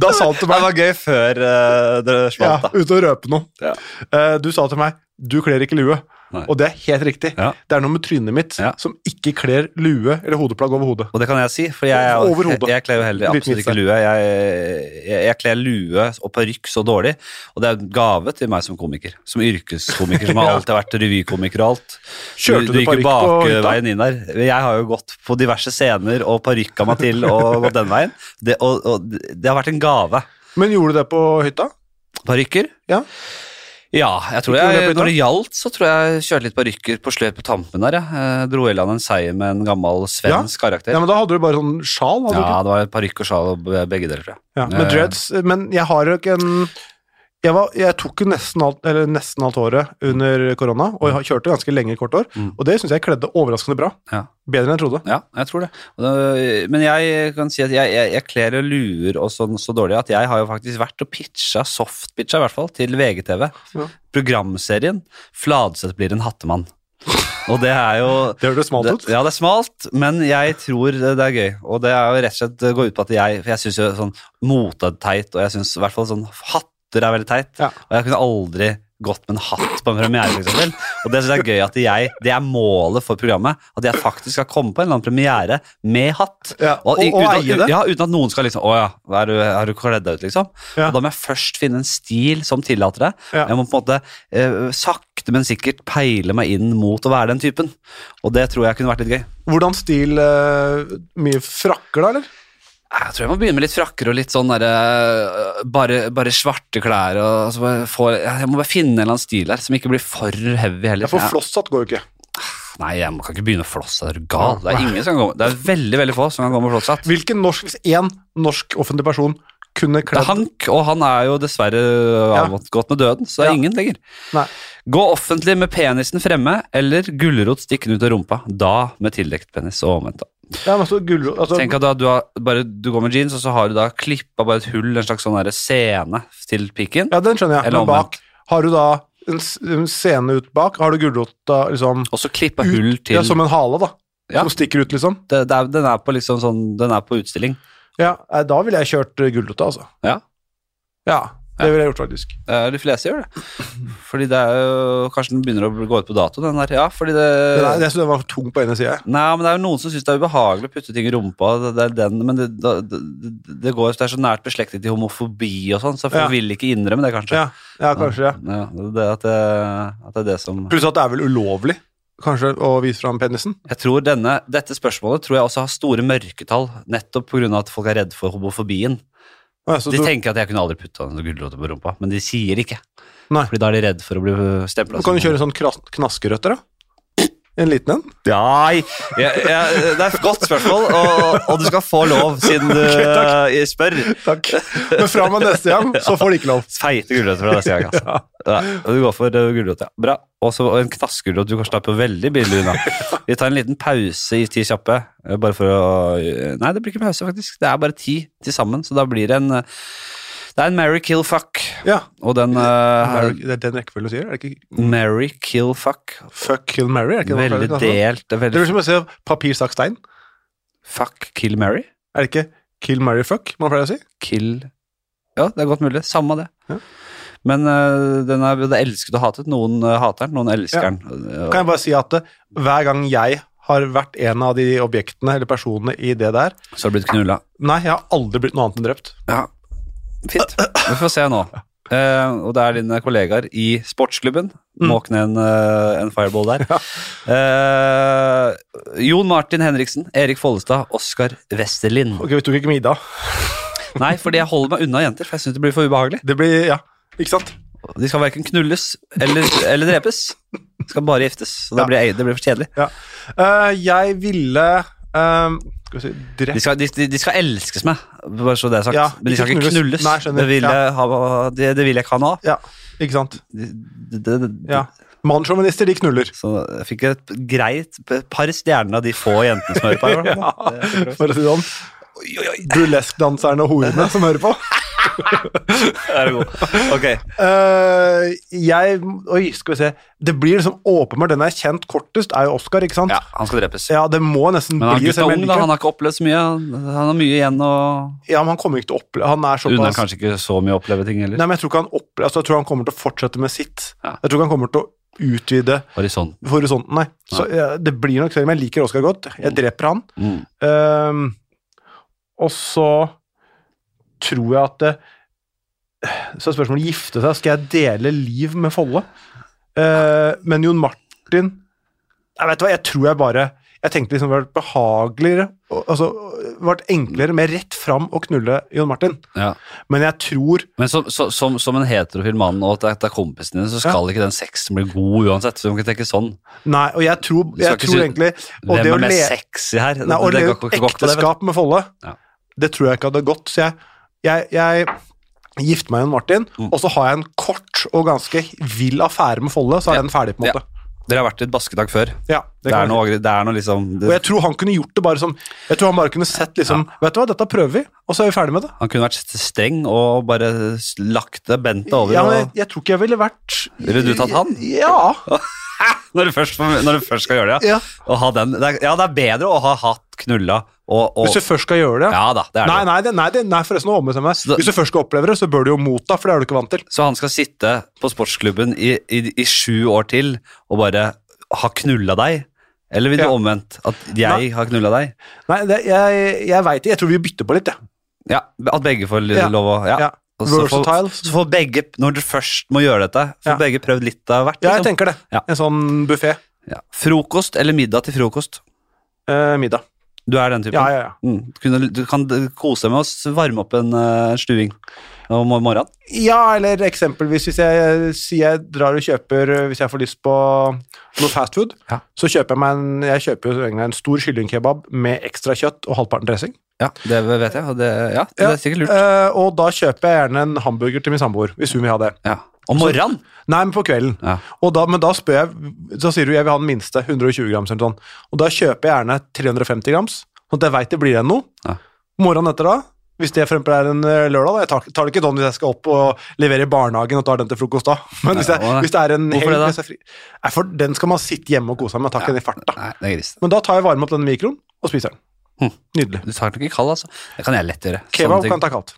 da sa han til
Det
meg,
var gøy før eh, dere
ja,
smalt, da.
uten å røpe noe,
Ja.
Eh, du sa til meg, du kler ikke lue.
Nei.
Og det er helt riktig.
Ja.
Det er noe med trynet mitt
Ja.
som ikke kler lue eller hodeplagg over hodet.
Og det kan jeg si, for jeg, er- jeg,
Overhodet.
jeg kler jo heller
Liten
absolutt
vits der.
ikke lue. Jeg, jeg, jeg kler lue og parykk så dårlig, og det er en gave til meg som komiker. Som yrkeskomiker, som har
Ja.
alltid vært revykomiker og alt.
Kjørte du
gikk jo
parykk på hytta?
bakveien inn der. Jeg har jo gått på diverse scener og parykka meg til og gått den veien. Det, og, og det har vært en gave.
Men gjorde du det på hytta?
Parykker?
Ja.
Ja, jeg tror
Ikke
jeg,
ulepet, da?
når det gjaldt, så tror jeg jeg kjørte litt parykker på sløyt på tampen der. Jeg. Eh, Dro i land en seier med en gammel svensk karakter.
Ja, men Da hadde du bare sånn sjal. hadde
Ja, det var parykk og sjal og be- begge deler, tror jeg.
du ikke? Ja, med
Eh.
dreads. Men jeg har jo ikke en jeg, var, jeg tok jo nesten alt, eller nesten alt håret under korona, og jeg kjørte ganske lenge kort hår.
Mm.
Og det syns jeg kledde overraskende bra.
Ja.
Bedre enn jeg trodde.
Ja, jeg tror det. Og det- Men jeg kan si at jeg, jeg, jeg kler og luer og sånn så dårlig at jeg har jo faktisk vært og pitcha, softpitcha i hvert fall, til VGTV.
Ja.
Programserien 'Fladseth blir en hattemann'. Og det er jo
Det hørtes smalt
det,
ut.
ja, det er smalt, men jeg tror det det er gøy. Og det er jo rett og slett det går ut på at jeg For jeg syns jo sånn mote er teit, og jeg syns i hvert fall sånn hatter er veldig teit.
Ja.
Og jeg kunne aldri gått med en hatt på en premiere, for eksempel. Og det syns jeg er gøy at jeg Det er målet for programmet. At jeg faktisk skal komme på en eller annen premiere med hatt.
Ja, og-
i-
og
uten, at-
eie det.
Ja, uten at noen skal liksom Å ja, hva er du, har du kledd deg ut, liksom?
Ja.
Og da må jeg først finne en stil som tillater det.
Ja.
Jeg må på en måte eh, sakte, men sikkert peile meg inn mot å være den typen. Og det tror jeg kunne vært litt gøy.
Hvordan stil eh, Mye frakker, da, eller?
Jeg tror jeg må begynne med litt frakker og litt sånn derre øh, bare, bare svarte klær og så bare få Jeg må bare finne en eller annen stil her som ikke blir for heavy heller.
Ja, for
Ja.
flosshatt går jo ikke.
Nei, jeg må- kan ikke begynne å flosse. Er du gal? Det er ingen som kan gå med Det er veldig, veldig få som kan gå med flosshatt.
Hvilken norsk, Hvis én norsk offentlig person kunne
Det er
kledd
Hank, og han er jo dessverre øh,
Ja.
avgått med døden, så det er
Ja.
ingen lenger.
Nei.
Gå offentlig med penisen fremme eller gulrot stikkende ut av rumpa. Da med tildekt penis og omvendt. da.
Ja, men altså, gulrot altså,
Tenk at da, du, har bare, du går med jeans, og så har du da klippa bare et hull, en slags sånn derre scene til piken.
Ja, den skjønner jeg.
Eller
Men bak, har du da en s- en scene ut bak? Har du gulrota liksom
Og så klippa
Ut-
hull til
ja, Som en hale, da.
Ja.
Som stikker ut, liksom.
det, det er, Den er på liksom sånn Den er på utstilling.
Ja, nei, Da ville jeg kjørt eh, gulrota, altså.
Ja.
Ja,
Ja.
det ville jeg gjort, faktisk.
Eh, De fleste gjør det. Fordi det er jo Kanskje den begynner å gå ut på dato, den der. Ja, fordi det
Den er- Jeg synes den var for tung på ene sida.
Nei, men det er jo noen som syns det er ubehagelig å putte ting i rumpa. Det, det er den, men det, det, det- det går det er så nært beslektet til homofobi og sånn, så folk
Ja.
vil ikke innrømme det, kanskje.
Ja, ja, kanskje. Ja.
Ja, det, at, det, at det er det som
Pluss at det er vel ulovlig, kanskje, å vise fram penisen.
Jeg tror denne, Dette spørsmålet tror jeg også har store mørketall, nettopp pga. at folk er redd for homofobien.
Ja, så
De
du-
tenker at jeg kunne aldri putta en gulrot på rumpa, men de sier ikke.
Nei.
Fordi da er de redd for å bli
Du
stempla
kan jo kjøre sånn kras- knaskerøtter, da. En liten en.
Nei! Jeg, jeg, det er et godt spørsmål, og, og du skal få lov, siden du
Ok, takk.
eh, spør.
Takk. Men fra og med neste gang, så får de ikke lov.
Feite gulrøtter fra neste gang. Altså. Ja. og Du går for eh, gulrot, ja. Bra. Og så en knaskgulrot. Du kan slappe veldig billig unna. Vi tar en liten pause i Ti kjappe. eh, Bare for å eh, Nei, det blir ikke pause, faktisk. Det er bare ti til sammen, så da blir det en eh, Det er en Mary kill fuck.
Ja.
Og den eh,
Mary- Det er den rekkefølgen du sier? Er det ikke
Mary kill fuck.
Fuck, kill Mary? Er det ikke det man
Veldig
pleier å kalle det?
delt. det er
Det
Veldig
blir som å se papir, saks, stein.
fuck kill Mary.
Er det ikke kill, marry, fuck man pleier å si?
Kill Ja, det er godt mulig. Samme det.
Ja.
Men øh, den er, det er elsket og hatet. Noen øh, hater den, noen elsker
Ja.
den. Øh,
Kan jeg bare si at eh, hver gang jeg har vært en av de objektene eller personene i det der
Så har det blitt knulla.
Nei, jeg har aldri blitt noe annet enn drept.
Ja. Fint. Vi får se nå. Eh, og det er dine kollegaer i sportsklubben.
Mm.
Måkne en, eh, en fireball der. Eh, Jon Martin Henriksen, Erik Follestad, Oskar Westerlind.
Ok, Vi tok ikke middag.
Nei, fordi jeg holder meg unna jenter, for jeg syns det blir for ubehagelig.
Det blir Ja, ikke sant?
De skal verken knulles eller, eller drepes. De skal bare giftes. Så
Ja.
det blir, det blir for kjedelig.
Eh, jeg ville eh, Skal vi si
De
Drept
skal, de, de- de skal elskes med, bare så det er sagt.
Ja,
Men de skal
ikke
ikke knulles.
knulles. Nei, skjønner.
det, vil jeg ha, det, det vil jeg ikke ha nå.
Ja, ikke sant?
Det, det, det,
Ja. Mannssjåvinister, de knuller.
Så jeg fikk et greit p- par stjerner av de få jentene som hører på. her,
Ja,
da. Det er
for å si det sånn. Burleskdanserne og horene som hører på.
god. Ok,
Eh, jeg Oi, skal vi se. Det blir liksom åpenbart Den jeg har kjent kortest, er jo Oscar, ikke sant?
ja, Han skal drepes.
Ja, det må nesten
Men han
bli
er
det, selv
gutt og
om jeg
ung, da.
liker
Han har ikke opplevd så mye. Han har mye igjen å
Ja, men han kommer ikke til å oppleve Han er
Unner
såpass
kanskje ikke så mye å oppleve ting
Nei,
heller.
men jeg tror ikke han opple... Altså, jeg tror han kommer til å fortsette med sitt.
Ja.
Jeg tror ikke han kommer til å utvide
Horisont.
horisonten, nei. Så eh, det blir nok selv om jeg liker Oscar godt. Jeg dreper han.
Mm.
Ehm, og så tror jeg at det, Så er spørsmålet gifte seg. Skal jeg dele liv med Folle? Eh, men Jon Martin Jeg vet du hva, jeg tror jeg bare Jeg tenkte liksom det hadde vært behageligere og- Altså det hadde vært enklere med rett fram å knulle Jon Martin.
Ja.
Men jeg tror
Men som, så, som, som en heterofil mann og at det er kompisen din, så skal ikke den sexen bli god uansett. Så du må ikke tenke sånn.
Nei, og jeg tror,
Du skal
jeg
ikke
tror
si-
egentlig Og
Hvem
det å
er mest
le
sexy her?
Nei, å
Det- det
leve
går-
et
går ikke på det, vet du.
ekteskap med Folle,
Ja.
det tror jeg ikke hadde gått. Så jeg, jeg, jeg gifter meg med Martin,
Mm.
og så har jeg en kort og ganske vill affære med Folle, så er
Ja.
den ferdig, på en måte.
Dere har vært i et basketak før.
Ja.
Det,
det
er
kan jeg
noe, agre- det er noe liksom
si. Og jeg
det,
tror han kunne gjort det bare som Jeg tror han bare kunne sett liksom Vet du hva, dette prøver vi, og så er vi ferdig med det.
Han kunne vært st- streng og bare s- lagt det bentet over.
Ja, men jeg,
og,
jeg tror ikke jeg ville vært
Ville du tatt han?
Ja.
når, du først, får- når du først skal gjøre det, ja.
ja.
Å ha den, det er, ja, det er bedre å ha hatt knulla og, og
Hvis du først skal gjøre det.
Ja da, det er
Nei,
det.
nei, det, nei, det, nei, forresten, nå ombestemmer jeg
Så-
meg. Hvis du først skal oppleve det, så bør du jo motta, for det er du ikke vant til.
Så han skal sitte på sportsklubben i, i, i sju år til og bare ha knulla deg? Eller vil du
Ja.
omvendt? At jeg
Nei.
har knulla deg?
Nei, det, jeg, jeg veit ikke. Jeg tror vi bytter på litt, jeg.
Ja, At begge får
Ja.
lov å ja.
Ja.
Og så får-
Versatile.
Så får begge, når du først må gjøre dette, får
Ja.
begge prøvd litt av hvert.
Ja, jeg
liksom.
tenker det.
Ja.
En sånn buffé.
Ja. Frokost eller middag til frokost?
Eh, middag.
Du er den typen?
Ja, ja, ja.
Mm. Du, kunne, du kan d- kose deg med å s- varme opp en eh, stuing om morgenen.
Ja, eller eksempelvis hvis jeg sier jeg drar og kjøper eh, Hvis jeg får lyst på noe fastfood,
Ja.
så kjøper jeg meg en, jeg kjøper jo egentlig en stor kyllingkebab med ekstra kjøtt og halvparten dressing.
Ja, det vet jeg. Og det, ja, det
Ja.
er sikkert lurt.
Eh, og da kjøper jeg gjerne en hamburger til min samboer, hvis hun vil ha det.
Ja. Om morgenen?
Nei, men på kvelden.
Ja.
Og da, men da spør jeg Så sier du jeg vil ha den minste, 120 grams eller sånn. Og da kjøper jeg gjerne 350 grams, sånn at jeg veit det blir igjen noe.
Ja.
Morgenen etter da, hvis det for eksempel er en eh, lørdag, da, jeg tar, tar det ikke sånn hvis jeg skal opp og levere i barnehagen og tar den til frokost da. Men hvis,
Nei,
jeg,
og-
hvis det er en
Hvorfor det
helg
da?
hvis jeg er fri- Nei, for den skal man sitte hjemme og kose seg med, jeg tar ikke den i farta.
Nei, det er grisen.
Men da tar jeg varme opp denne mikroen og spiser den.
Hm.
Nydelig.
Du tar den ikke kald, altså. Det kan Mm. jeg lett gjøre. Sånne
Kebab
ting-
kan ta kaldt.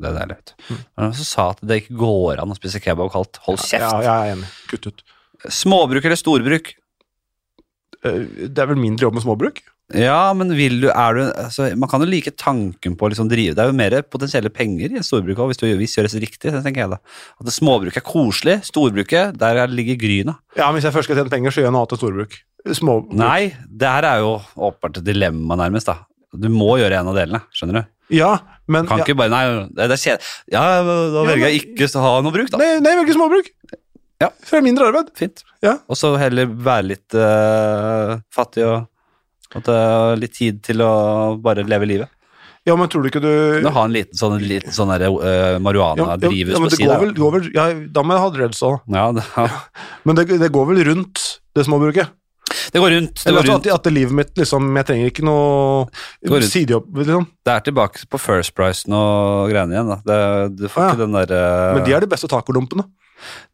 Det er deilig. vet du. Det var Noen som sa at det ikke går an å spise kebab kaldt. Hold
Ja,
kjeft.
jeg er enig. Kutt ut.
Småbruk eller storbruk?
Eh, Det er vel mindre jobb med småbruk?
Ja, men vil du, er du altså, Man kan jo like tanken på å liksom drive Det er jo mer potensielle penger i en storbruk også, hvis, du, hvis det gjøres riktig. Så tenker jeg da. At det småbruk er koselig. Storbruket, der er- ligger gryna.
Ja, men hvis jeg først skal tjene penger, så gjør jeg noe annet enn storbruk. Små,
Nei, det her er jo åpenbart et dilemma, nærmest. da Du må gjøre en av delene. Skjønner du?
Ja, Men
Kan
ja,
ikke bare Nei, det, det er kjedelig. Ja, da velger jeg ikke å ha noe bruk, da.
nei, nei, velge småbruk.
Ja.
For det er mindre arbeid.
Fint.
Ja.
Og så heller være litt eh, fattig og at det er litt tid til å bare leve livet.
Ja, men tror du ikke du
Nå ha en liten sånn, liten sånn der, eh,
ja, ja,
marihuana-drivhus
ja, men
på
det går vel,
sida.
går vel, ja, Da må jeg ha dreads òg.
Ja, det,
Men det, det går vel rundt det småbruket.
det går rundt. Det,
Eller altså,
går
at,
rundt.
at, at livet mitt liksom Jeg trenger ikke
Det går
noe
rundt.
sidejobb, liksom.
det er tilbake på First Price og greiene igjen. Da. Det, du får
Ah, ja.
ikke den eh, derre
Men de er de beste tacodumpene.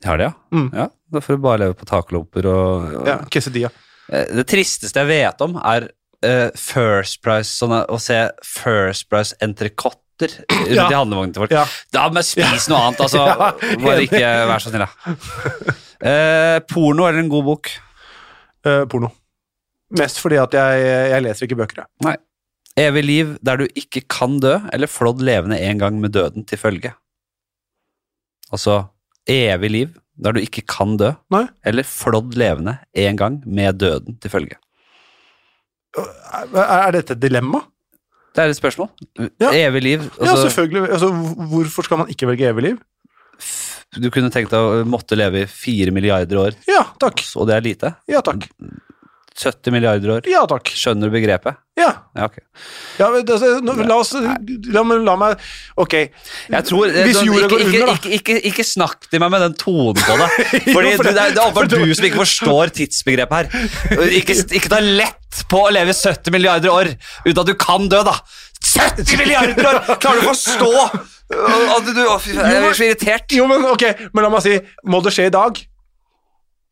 De har det, ja.
Mm.
ja. Da får du bare leve på taklopper og, og
Ja, quesadilla.
Eh, Det tristeste jeg vet om, er eh, First Price sånne, Å se First Price entrecôter rundt
Ja.
i handlevognen til folk.
Ja.
Da må jeg spise noe annet, altså.
Ja,
Bare
enig.
ikke vær så snill, da. Eh, porno eller en god bok?
Eh, porno. Mest fordi at jeg, jeg leser ikke bøker, jeg.
Evig liv der du ikke kan dø, eller flådd levende en gang med døden til følge? Altså evig liv der du ikke kan dø,
Nei.
eller flådd levende en gang med døden til følge?
Er, er dette et dilemma?
Det er et spørsmål.
Ja.
Evig liv.
ja,
altså-
selvfølgelig. Altså, hvor- hvorfor skal man ikke velge evig liv?
F- Du kunne tenkt deg å måtte leve i 4 milliarder år,
Ja takk.
og det er lite.
Ja takk.
70 milliarder år.
Ja takk.
Skjønner du begrepet?
Ja.
Ja, ok.
ja men, altså, nå, la oss la, meg- la meg Ok.
Jeg tror, sånn,
Hvis
ikke,
jorda går
ikke,
under, da.
ikke, ikke, ikke snakk til meg med den tonen på det. Fordi
Jo, for
du,
det-
det er det er
for
åpenbart
det-
du som ikke forstår tidsbegrepet her. Ikke, ikke ta lett på å leve i 70 milliarder år uten at du kan dø, da. 70 milliarder år! Klarer du å forstå øh, at du Å, fy faen, Jeg blir så irritert.
Jo, men ok, men la meg si Må det skje i dag?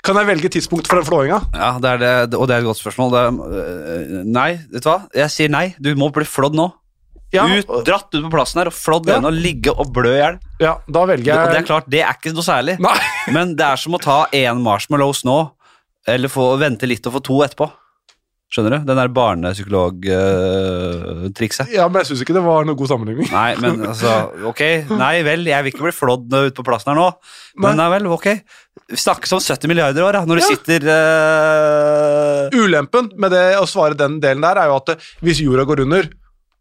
Kan jeg velge tidspunkt for den flåinga?
Ja, det er det, og det er et godt spørsmål. Det er, øh, nei, vet du hva? Jeg sier nei. Du må bli flådd nå.
Ja,
ut, dratt ut på plassen her og flådd
Ja.
ja. og ligge og blø i hjel.
ja, da velger
Og det
jeg
er klart, det er ikke noe særlig.
Nei.
Men det er som å ta én marshmallows nå, eller få, vente litt og få to etterpå. Skjønner du? Den der barnepsykolog-trikset.
Ja, men jeg syns ikke det var noe god sammenligning.
Nei, men altså, ok. Nei vel, jeg vil ikke bli flådd ute på plassen her nå. Men nei vel, ok. Vi snakkes om 70 milliarder år, da, når du
Ja.
sitter eh,
Ulempen med det å svare den delen der, er jo at eh, hvis jorda går under,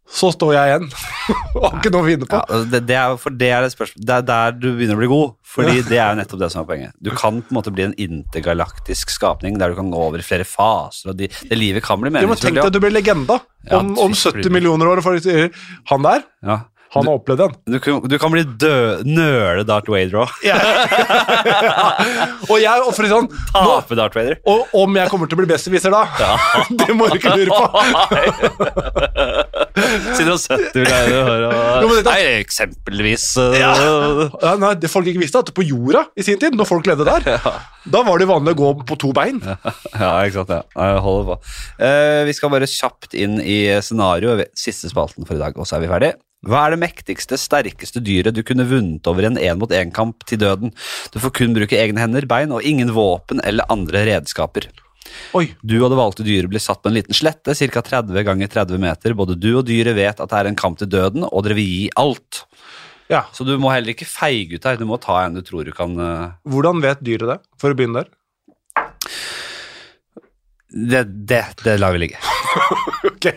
så står jeg igjen. Og har ikke noe å vinne på.
ja, det, det er, for det er et spørsmål Det er der du begynner å bli god, Fordi det er jo nettopp det som er poenget. Du kan på en måte bli en intergalaktisk skapning der du kan gå over i flere faser, og de, det livet kan bli
Jo, men tenk
meningsfullt.
deg at du blir legenda
Ja,
om, om
fy
70
flate.
millioner år. og folk sier, sånn. Han der,
Ja. Ja.
han har opplevd den.
Du, kan- du kan bli dø, nøle Darth Vader òg.
Og jeg, og for å si sånn, nå,
Tape Darth Vader.
og om jeg kommer til å bli besserwisser da, det må du ikke lure på.
Sitter og 70 milliarder år
Jo,
og
men det-
Nei, eksempelvis eh,
Ja, nei, det folk ikke visste at på jorda i sin tid, når folk levde der, da var det vanlig å gå på to bein.
Ja, ikke sant. Ja. Nei, jeg holder på. Eh, vi skal bare kjapt inn i scenarioet, siste spalten for i dag, og så er vi ferdig. Hva er det mektigste, sterkeste dyret du kunne vunnet over i en én-mot-én-kamp til døden? Du får kun bruke egne hender, bein og ingen våpen eller andre redskaper.
Oi,
Du og det valgte dyret ble satt på en liten slette, ca. 30 ganger 30 meter. Både du og dyret vet at det er en kamp til døden, og dere vil gi alt.
ja.
Så du må heller ikke feige ut her, du må ta en du tror du kan eh,
Hvordan vet dyret det, for å begynne der?
Det, det, det lar vi ligge.
Ok,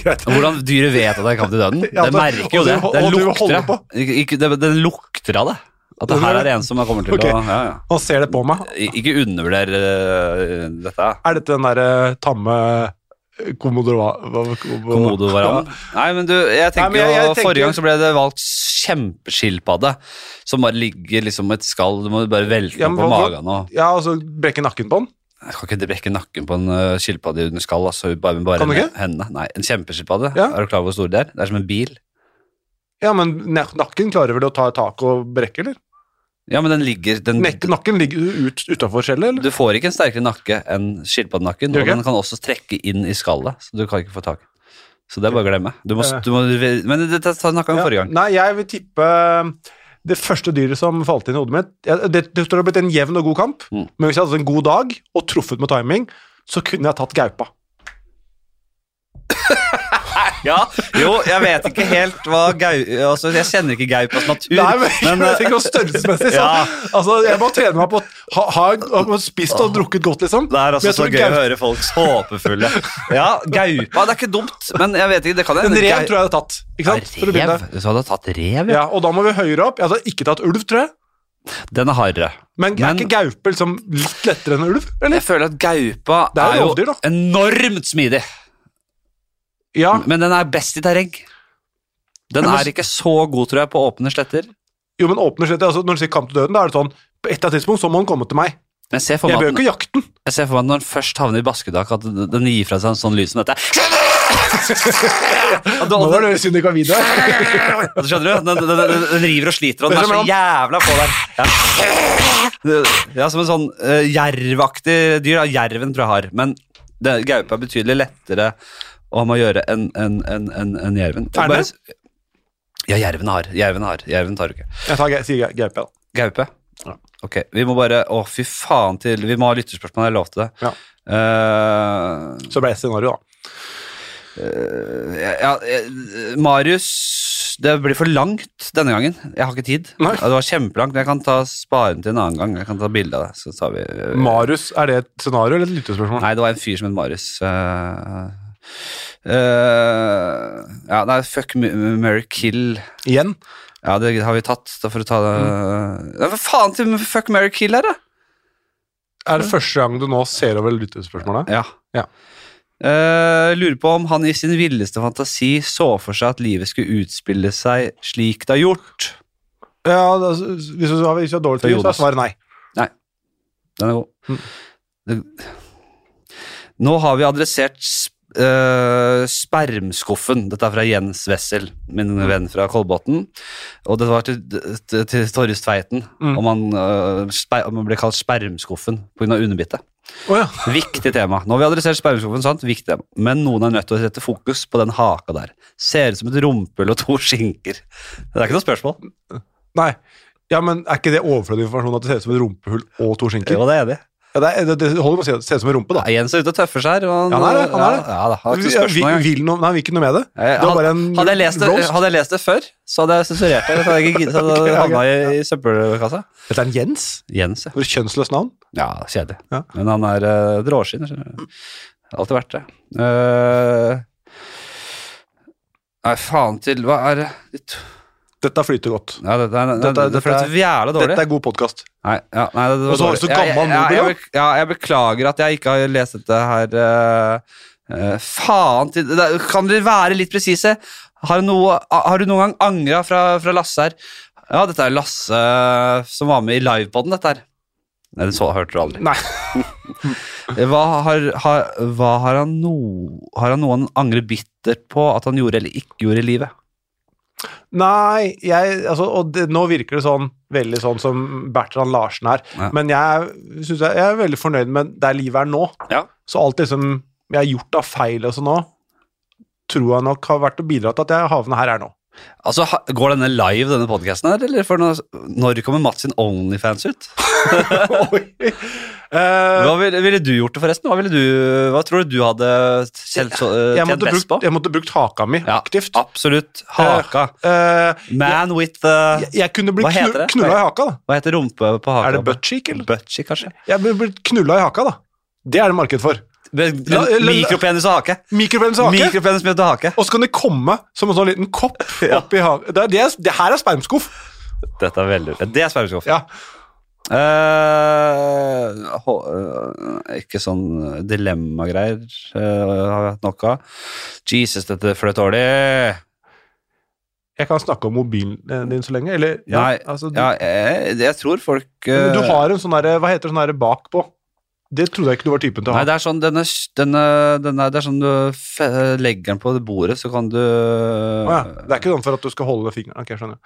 greit.
Hvordan dyret vet at det er kamp til døden?
Ja,
det
det-
merker jo
og du-
det. Det
og du
lukter
holder
det. Ikke- ikke- det- Det lukter av det. At det her er det en som kommer til
Ok.
å ja, ja.
Han ser det på meg.
I- Ikke undervurder eh, dette.
Er dette den der eh, tamme kommodora... hva- komo-
Komodo-varan. Nei, men du, jeg tenker
Nei, men jeg- jeg
jo
tenker-
Forrige gang så ble det valgt kjempeskilpadde, som bare ligger liksom med et skall. Du må bare velte
Ja,
den
men
på
hva-
magen og
Ja, og så brekke nakken på den.
Jeg kan ikke brekke nakken på en ø, skilpadde under skall. Altså, bare, bare
Kan du ikke?
Hendene. Nei, en kjempeskilpadde.
Ja.
Er du klar over hvor stor det er? Det er som en bil.
Ja, men ne- nakken klarer vel å ta et tak og brekke, eller?
Ja, men den ligger den,
Nek nakken ligger ut utafor skjellet, eller?
Du får ikke en sterkere nakke enn skilpaddenakken,
Gjør
og
ikke?
den kan også trekke inn i skallet, så du kan ikke få tak. Så det er bare å glemme. Du må,
Ja.
du må, men dette snakka vi om
Ja.
forrige gang.
Nei, jeg vil tippe um, det første dyret som falt inn i hodet mitt ja, Det, det tror jeg har blitt en jevn og god kamp,
Mm.
men hvis jeg hadde hatt en god dag og truffet med timing, så kunne jeg tatt gaupa.
Ja, jo, jeg vet ikke helt hva gau... Altså, jeg kjenner ikke gaupas natur.
Nei, men,
men, eh,
jeg tenker noe størrelsesmessig. Så,
Ja.
altså, jeg må trene meg på å ha, ha, ha spist og drukket godt, liksom.
Det er altså
Men jeg
så
tror
gøy å
gau-
høre folks håpefulle Ja, gaupa, det er ikke dumt, men jeg vet ikke, det kan
En
hende.
rev
Gau-
tror jeg hadde tatt. Ikke sant? For å begynne.
Rev? Du hadde tatt rev, ja.
Ja, og da må vi høyere opp. Jeg hadde ikke tatt ulv, tror jeg.
Den er hardere.
Men,
Men-
er ikke gaupe liksom litt lettere enn ulv?
Jeg
Eller?
føler at gaupa
Det er
er
rovdyr,
jo
da.
enormt smidig,
Ja.
men den er best i terreng. Den
Ah. Men-
er ikke så god, tror jeg, på åpne sletter.
Jo, men åpner slett, altså, Når du sier kamp til døden, da er det sånn På et eller annet tidspunkt så må den komme til meg.
Men jeg ser for
Jeg
meg
bør jo
at den,
ikke jakte den.
jeg ser for meg at når den først havner i basketak, at den den gir fra seg en sånn lyd som dette. At du-
Nå er det synd du ikke har video her.
Ja, Skjønner du? Den, den, den, den river og sliter, og den er
Det er
så
som
jævla på der. Ja, ja Som en sånn eh, jervaktig dyr. Da. Jerven tror jeg har, men det- gaupe er betydelig lettere å ha med å gjøre enn enn- enn- enn- enn jerven.
Er det?
s- Ja, jerven har. Jerven har. Jerven tar du ikke.
Jeg tar, jeg sier gaupe, da.
Gaupe? Ok, vi må bare Å, fy faen til Vi må ha lytterspørsmål, jeg lovte det.
Ja.
Eh,
Så ble det scenario, da.
ja, ja, eh, Marius, det blir for langt denne gangen. Jeg har ikke tid.
Nei.
Ja, Det var kjempelangt, men jeg kan ta sparen til en annen gang. Jeg kan ta bilde av det. Så tar vi
Eh.
eh,
Marius, er det et scenario eller et lyttespørsmål?
Nei, det var en fyr som het Marius. eh, eh, ja, nei, fuck Mary Kill.
Igjen?
Ja, det har vi tatt, da for å ta det
Mm.
Ja, Hva faen til fuck Mary Kill her, da?
Er det første gang du nå ser over lyttespørsmålet?
Ja.
Ja.
Eh, lurer på om han i sin villeste fantasi så for seg at livet skulle utspille seg slik det har gjort.
Ja, da, hvis du har, hvis du har dårlig
For
tid, så er
Jonas.
svaret nei.
Den er god.
Mm.
Det, nå har vi adressert sp eh, spermskuffen. Dette er fra Jens Wessel, min
Mm.
venn fra Kolbotn. Og det var til, til, til Torjus Tveiten
Mm.
om, han, eh, sper- om han ble kalt spermskuffen pga. underbittet.
Å ja.
Viktig tema. Nå har vi adressert spermskuffen, sant? Viktig tema. Men noen er nødt til å sette fokus på den haka der. Ser ut som et rumpehull og to skinker. Det er ikke noe spørsmål.
Nei. Ja, men Er ikke det overflødig informasjon at det ser ut som et rumpehull og to skinker?
Jo, det er enig.
Ja, det, er- det, det holder med å si at det ser ut som en rumpe, da.
Ja, Jens er ute og tøffer seg her. og
Ja, han er det, han er det.
Ja, ja, da, har ikke noe
Ja, vi,
spørsmål engang.
vil noe, nei, vi vil ikke noe med det.
Eh,
Det var
had-
bare en
hadde, jeg lest det,
roast.
hadde jeg lest det før, så hadde jeg sensurert det. Så hadde jeg ikke giddet så hadde
Ok,
det
ja,
havna i, i søppelkassa.
Dette er en Jens.
Jens, ja.
For et kjønnsløst navn.
Ja, kjedelig.
Ja.
Men han er uh, dråskinn. skjønner du. Alltid vært det. Eh, Nei, faen til Hva er det Litt-
Dette flyter godt.
Nei, det, nei, nei,
Dette-
det, det
dette er-
føltes jævla dårlig.
Dette er god podkast.
nei, ja, nei, det, det
Og så var det så
dårlig. Ja,
gammel
ja,
Nobel,
jeg,
da.
bek- ja, jeg beklager at jeg ikke har lest dette her eh, eh, Faen til det, Kan dere være litt presise? Har, du noe- har du noen gang angra fra, fra Lasse her? Ja, dette er Lasse eh, som var med i livepoden, dette her. Nei, det så hørte du aldri. Eh,
Nei.
Hva har, har, hva har, han, no, har han noen angrer bittert på at han gjorde eller ikke gjorde i livet?
Nei, jeg altså, Og det, nå virker det sånn veldig sånn som Bertrand Larsen er.
Ja.
Men jeg, synes jeg, jeg er veldig fornøyd med der livet er nå.
Ja.
Så alt det som jeg har gjort av feil og sånn nå, tror jeg nok har vært å bidra til at jeg havner her er nå.
Altså, ha- Går denne live, denne podkasten her, eller? For nå, når kommer Mats sin Onlyfans ut?
Oi. Eh,
Hva ville, ville du gjort det, forresten? Hva, ville du, hva tror du du hadde selv, så, eh,
jeg,
tjent
måtte
best
brukt,
på?
jeg måtte brukt haka mi
Ja.
aktivt.
Absolutt. Haka.
Eh,
Man with the
jeg, jeg kunne blitt
Hva heter
knu-
det?
knulla i haka, da.
Hva heter rumpe på haka?
Er det buttcheek, eller?
Buttcheek, kanskje.
Jeg blir blitt knulla i haka, da. Det er det marked for.
Men-
La- la- la-
Mikropenis og hake.
Mikropenis og hake.
Mikropenis med hake.
Og så kan det komme som en sånn liten kopp oppi haka. Det, er- det, er- det her er spermskuff.
Dette er veldig Det er spermeskuff.
Ja.
Eh, hå- eh, ikke sånn dilemmagreier eh, har vi hatt nok av. Jesus, dette fløt dårlig.
Jeg kan snakke om mobilen eh, din så lenge. Eller ja,
Nei,
altså, du,
Ja, jeg, jeg tror folk eh,
men du har en sånn derre Hva heter sånn derre bakpå? Det trodde jeg ikke du var typen til å
Nei,
ha.
det er sånn denne, denne, denne Det er sånn du fe- legger den på bordet, så kan du
Å ja. Det er ikke sånn for at du skal holde fingeren Ok, jeg skjønner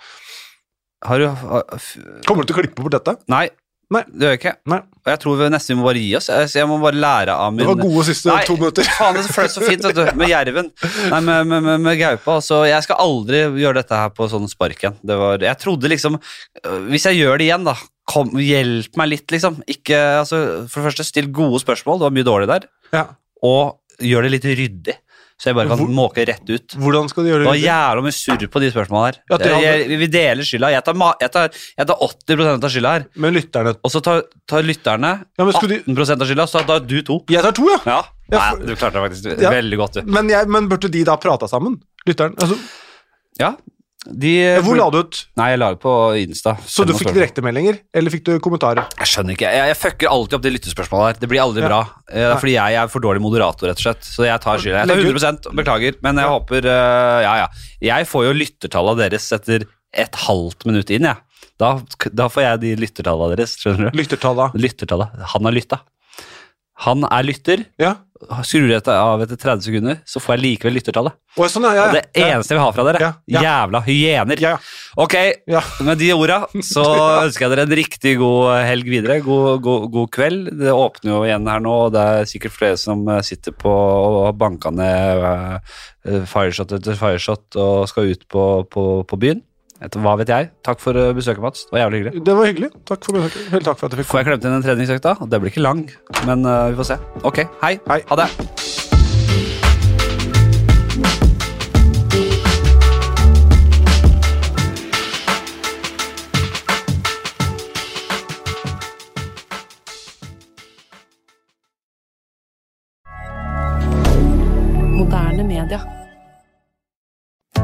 Har du har- f-
Kommer du til å klippe bort dette?
Nei.
Nei.
Det gjør jeg ikke.
Nei.
Og jeg tror vi nesten vi må bare gi oss. Jeg, så jeg må bare lære av min
Det var gode siste
Nei.
to minutter.
Faen, det fløt så fint vet du, med jerven. Nei, med, med, med, med gaupa. Altså, jeg skal aldri gjøre dette her på sånn spark igjen. Det var, jeg trodde liksom øh, Hvis jeg gjør det igjen, da, kom, hjelp meg litt, liksom. Ikke, altså, for det første, still gode spørsmål. Det var mye dårlig der.
Ja.
og gjør det litt ryddig. så jeg bare kan
Hvor-
måke rett ut.
Hvordan skal du gjøre
Det var
det?
jævla mye surr på de spørsmålene her.
Ja, det hadde-
jeg, vi- vi deler skylda. Jeg tar, ma- jeg tar, jeg tar 80 av skylda her.
Men lytterne
Og så tar, tar lytterne
Ja, men skulle de-
18 av skylda, så tar du to.
Jeg tar to, ja!
Ja,
Ja,
Nei,
for-
du klarte det faktisk
Ja.
veldig godt, du.
Men, jeg, men burde de da prata sammen? Lytteren? Altså,
Ja, de
hvor la du ut?
Nei, jeg la det på Insta.
Så
Send
du
noen
fikk
spørsmål.
direktemeldinger? Eller fikk du kommentarer?
Jeg skjønner ikke. Jeg, jeg fucker alltid opp de lyttespørsmålene her. Det blir aldri
Ja.
bra. Eh, Det
Nei.
er fordi jeg er for dårlig moderator, rett og slett. Så jeg tar skylda. Jeg
Legg ut.
tar 100 beklager, men jeg
Ja.
håper eh, Ja, ja. Jeg får jo lyttertallene deres etter et halvt minutt inn, jeg. Da, da får jeg de lyttertallene deres, skjønner du.
Lyttertalla?
Lyttertallet. Han har lytta. Han er lytter.
Ja.
Skrur jeg av etter 30 sekunder, så får jeg likevel lyttertallet.
Å, sånn, ja,
Og
ja,
det
ja.
eneste jeg vil ha fra dere,
Ja, ja.
jævla hyener.
Ja,
Ok,
ja.
med de orda så ønsker jeg dere en riktig god helg videre. God, god, god kveld. Det åpner jo igjen her nå, og det er sikkert flere som eh, sitter på og har banka ned eh, fireshot etter fireshot og skal ut på, på, på byen. Et- Hva vet jeg. Takk for eh, besøket, Mats. Det var jævlig hyggelig.
Det var hyggelig. Takk for, Veldig takk for at jeg fikk
Får jeg klemt inn en treningsøkt, da? Det blir ikke lang, men eh, vi får se. Ok, hei.
Hei.
Ha det.
Moderne media.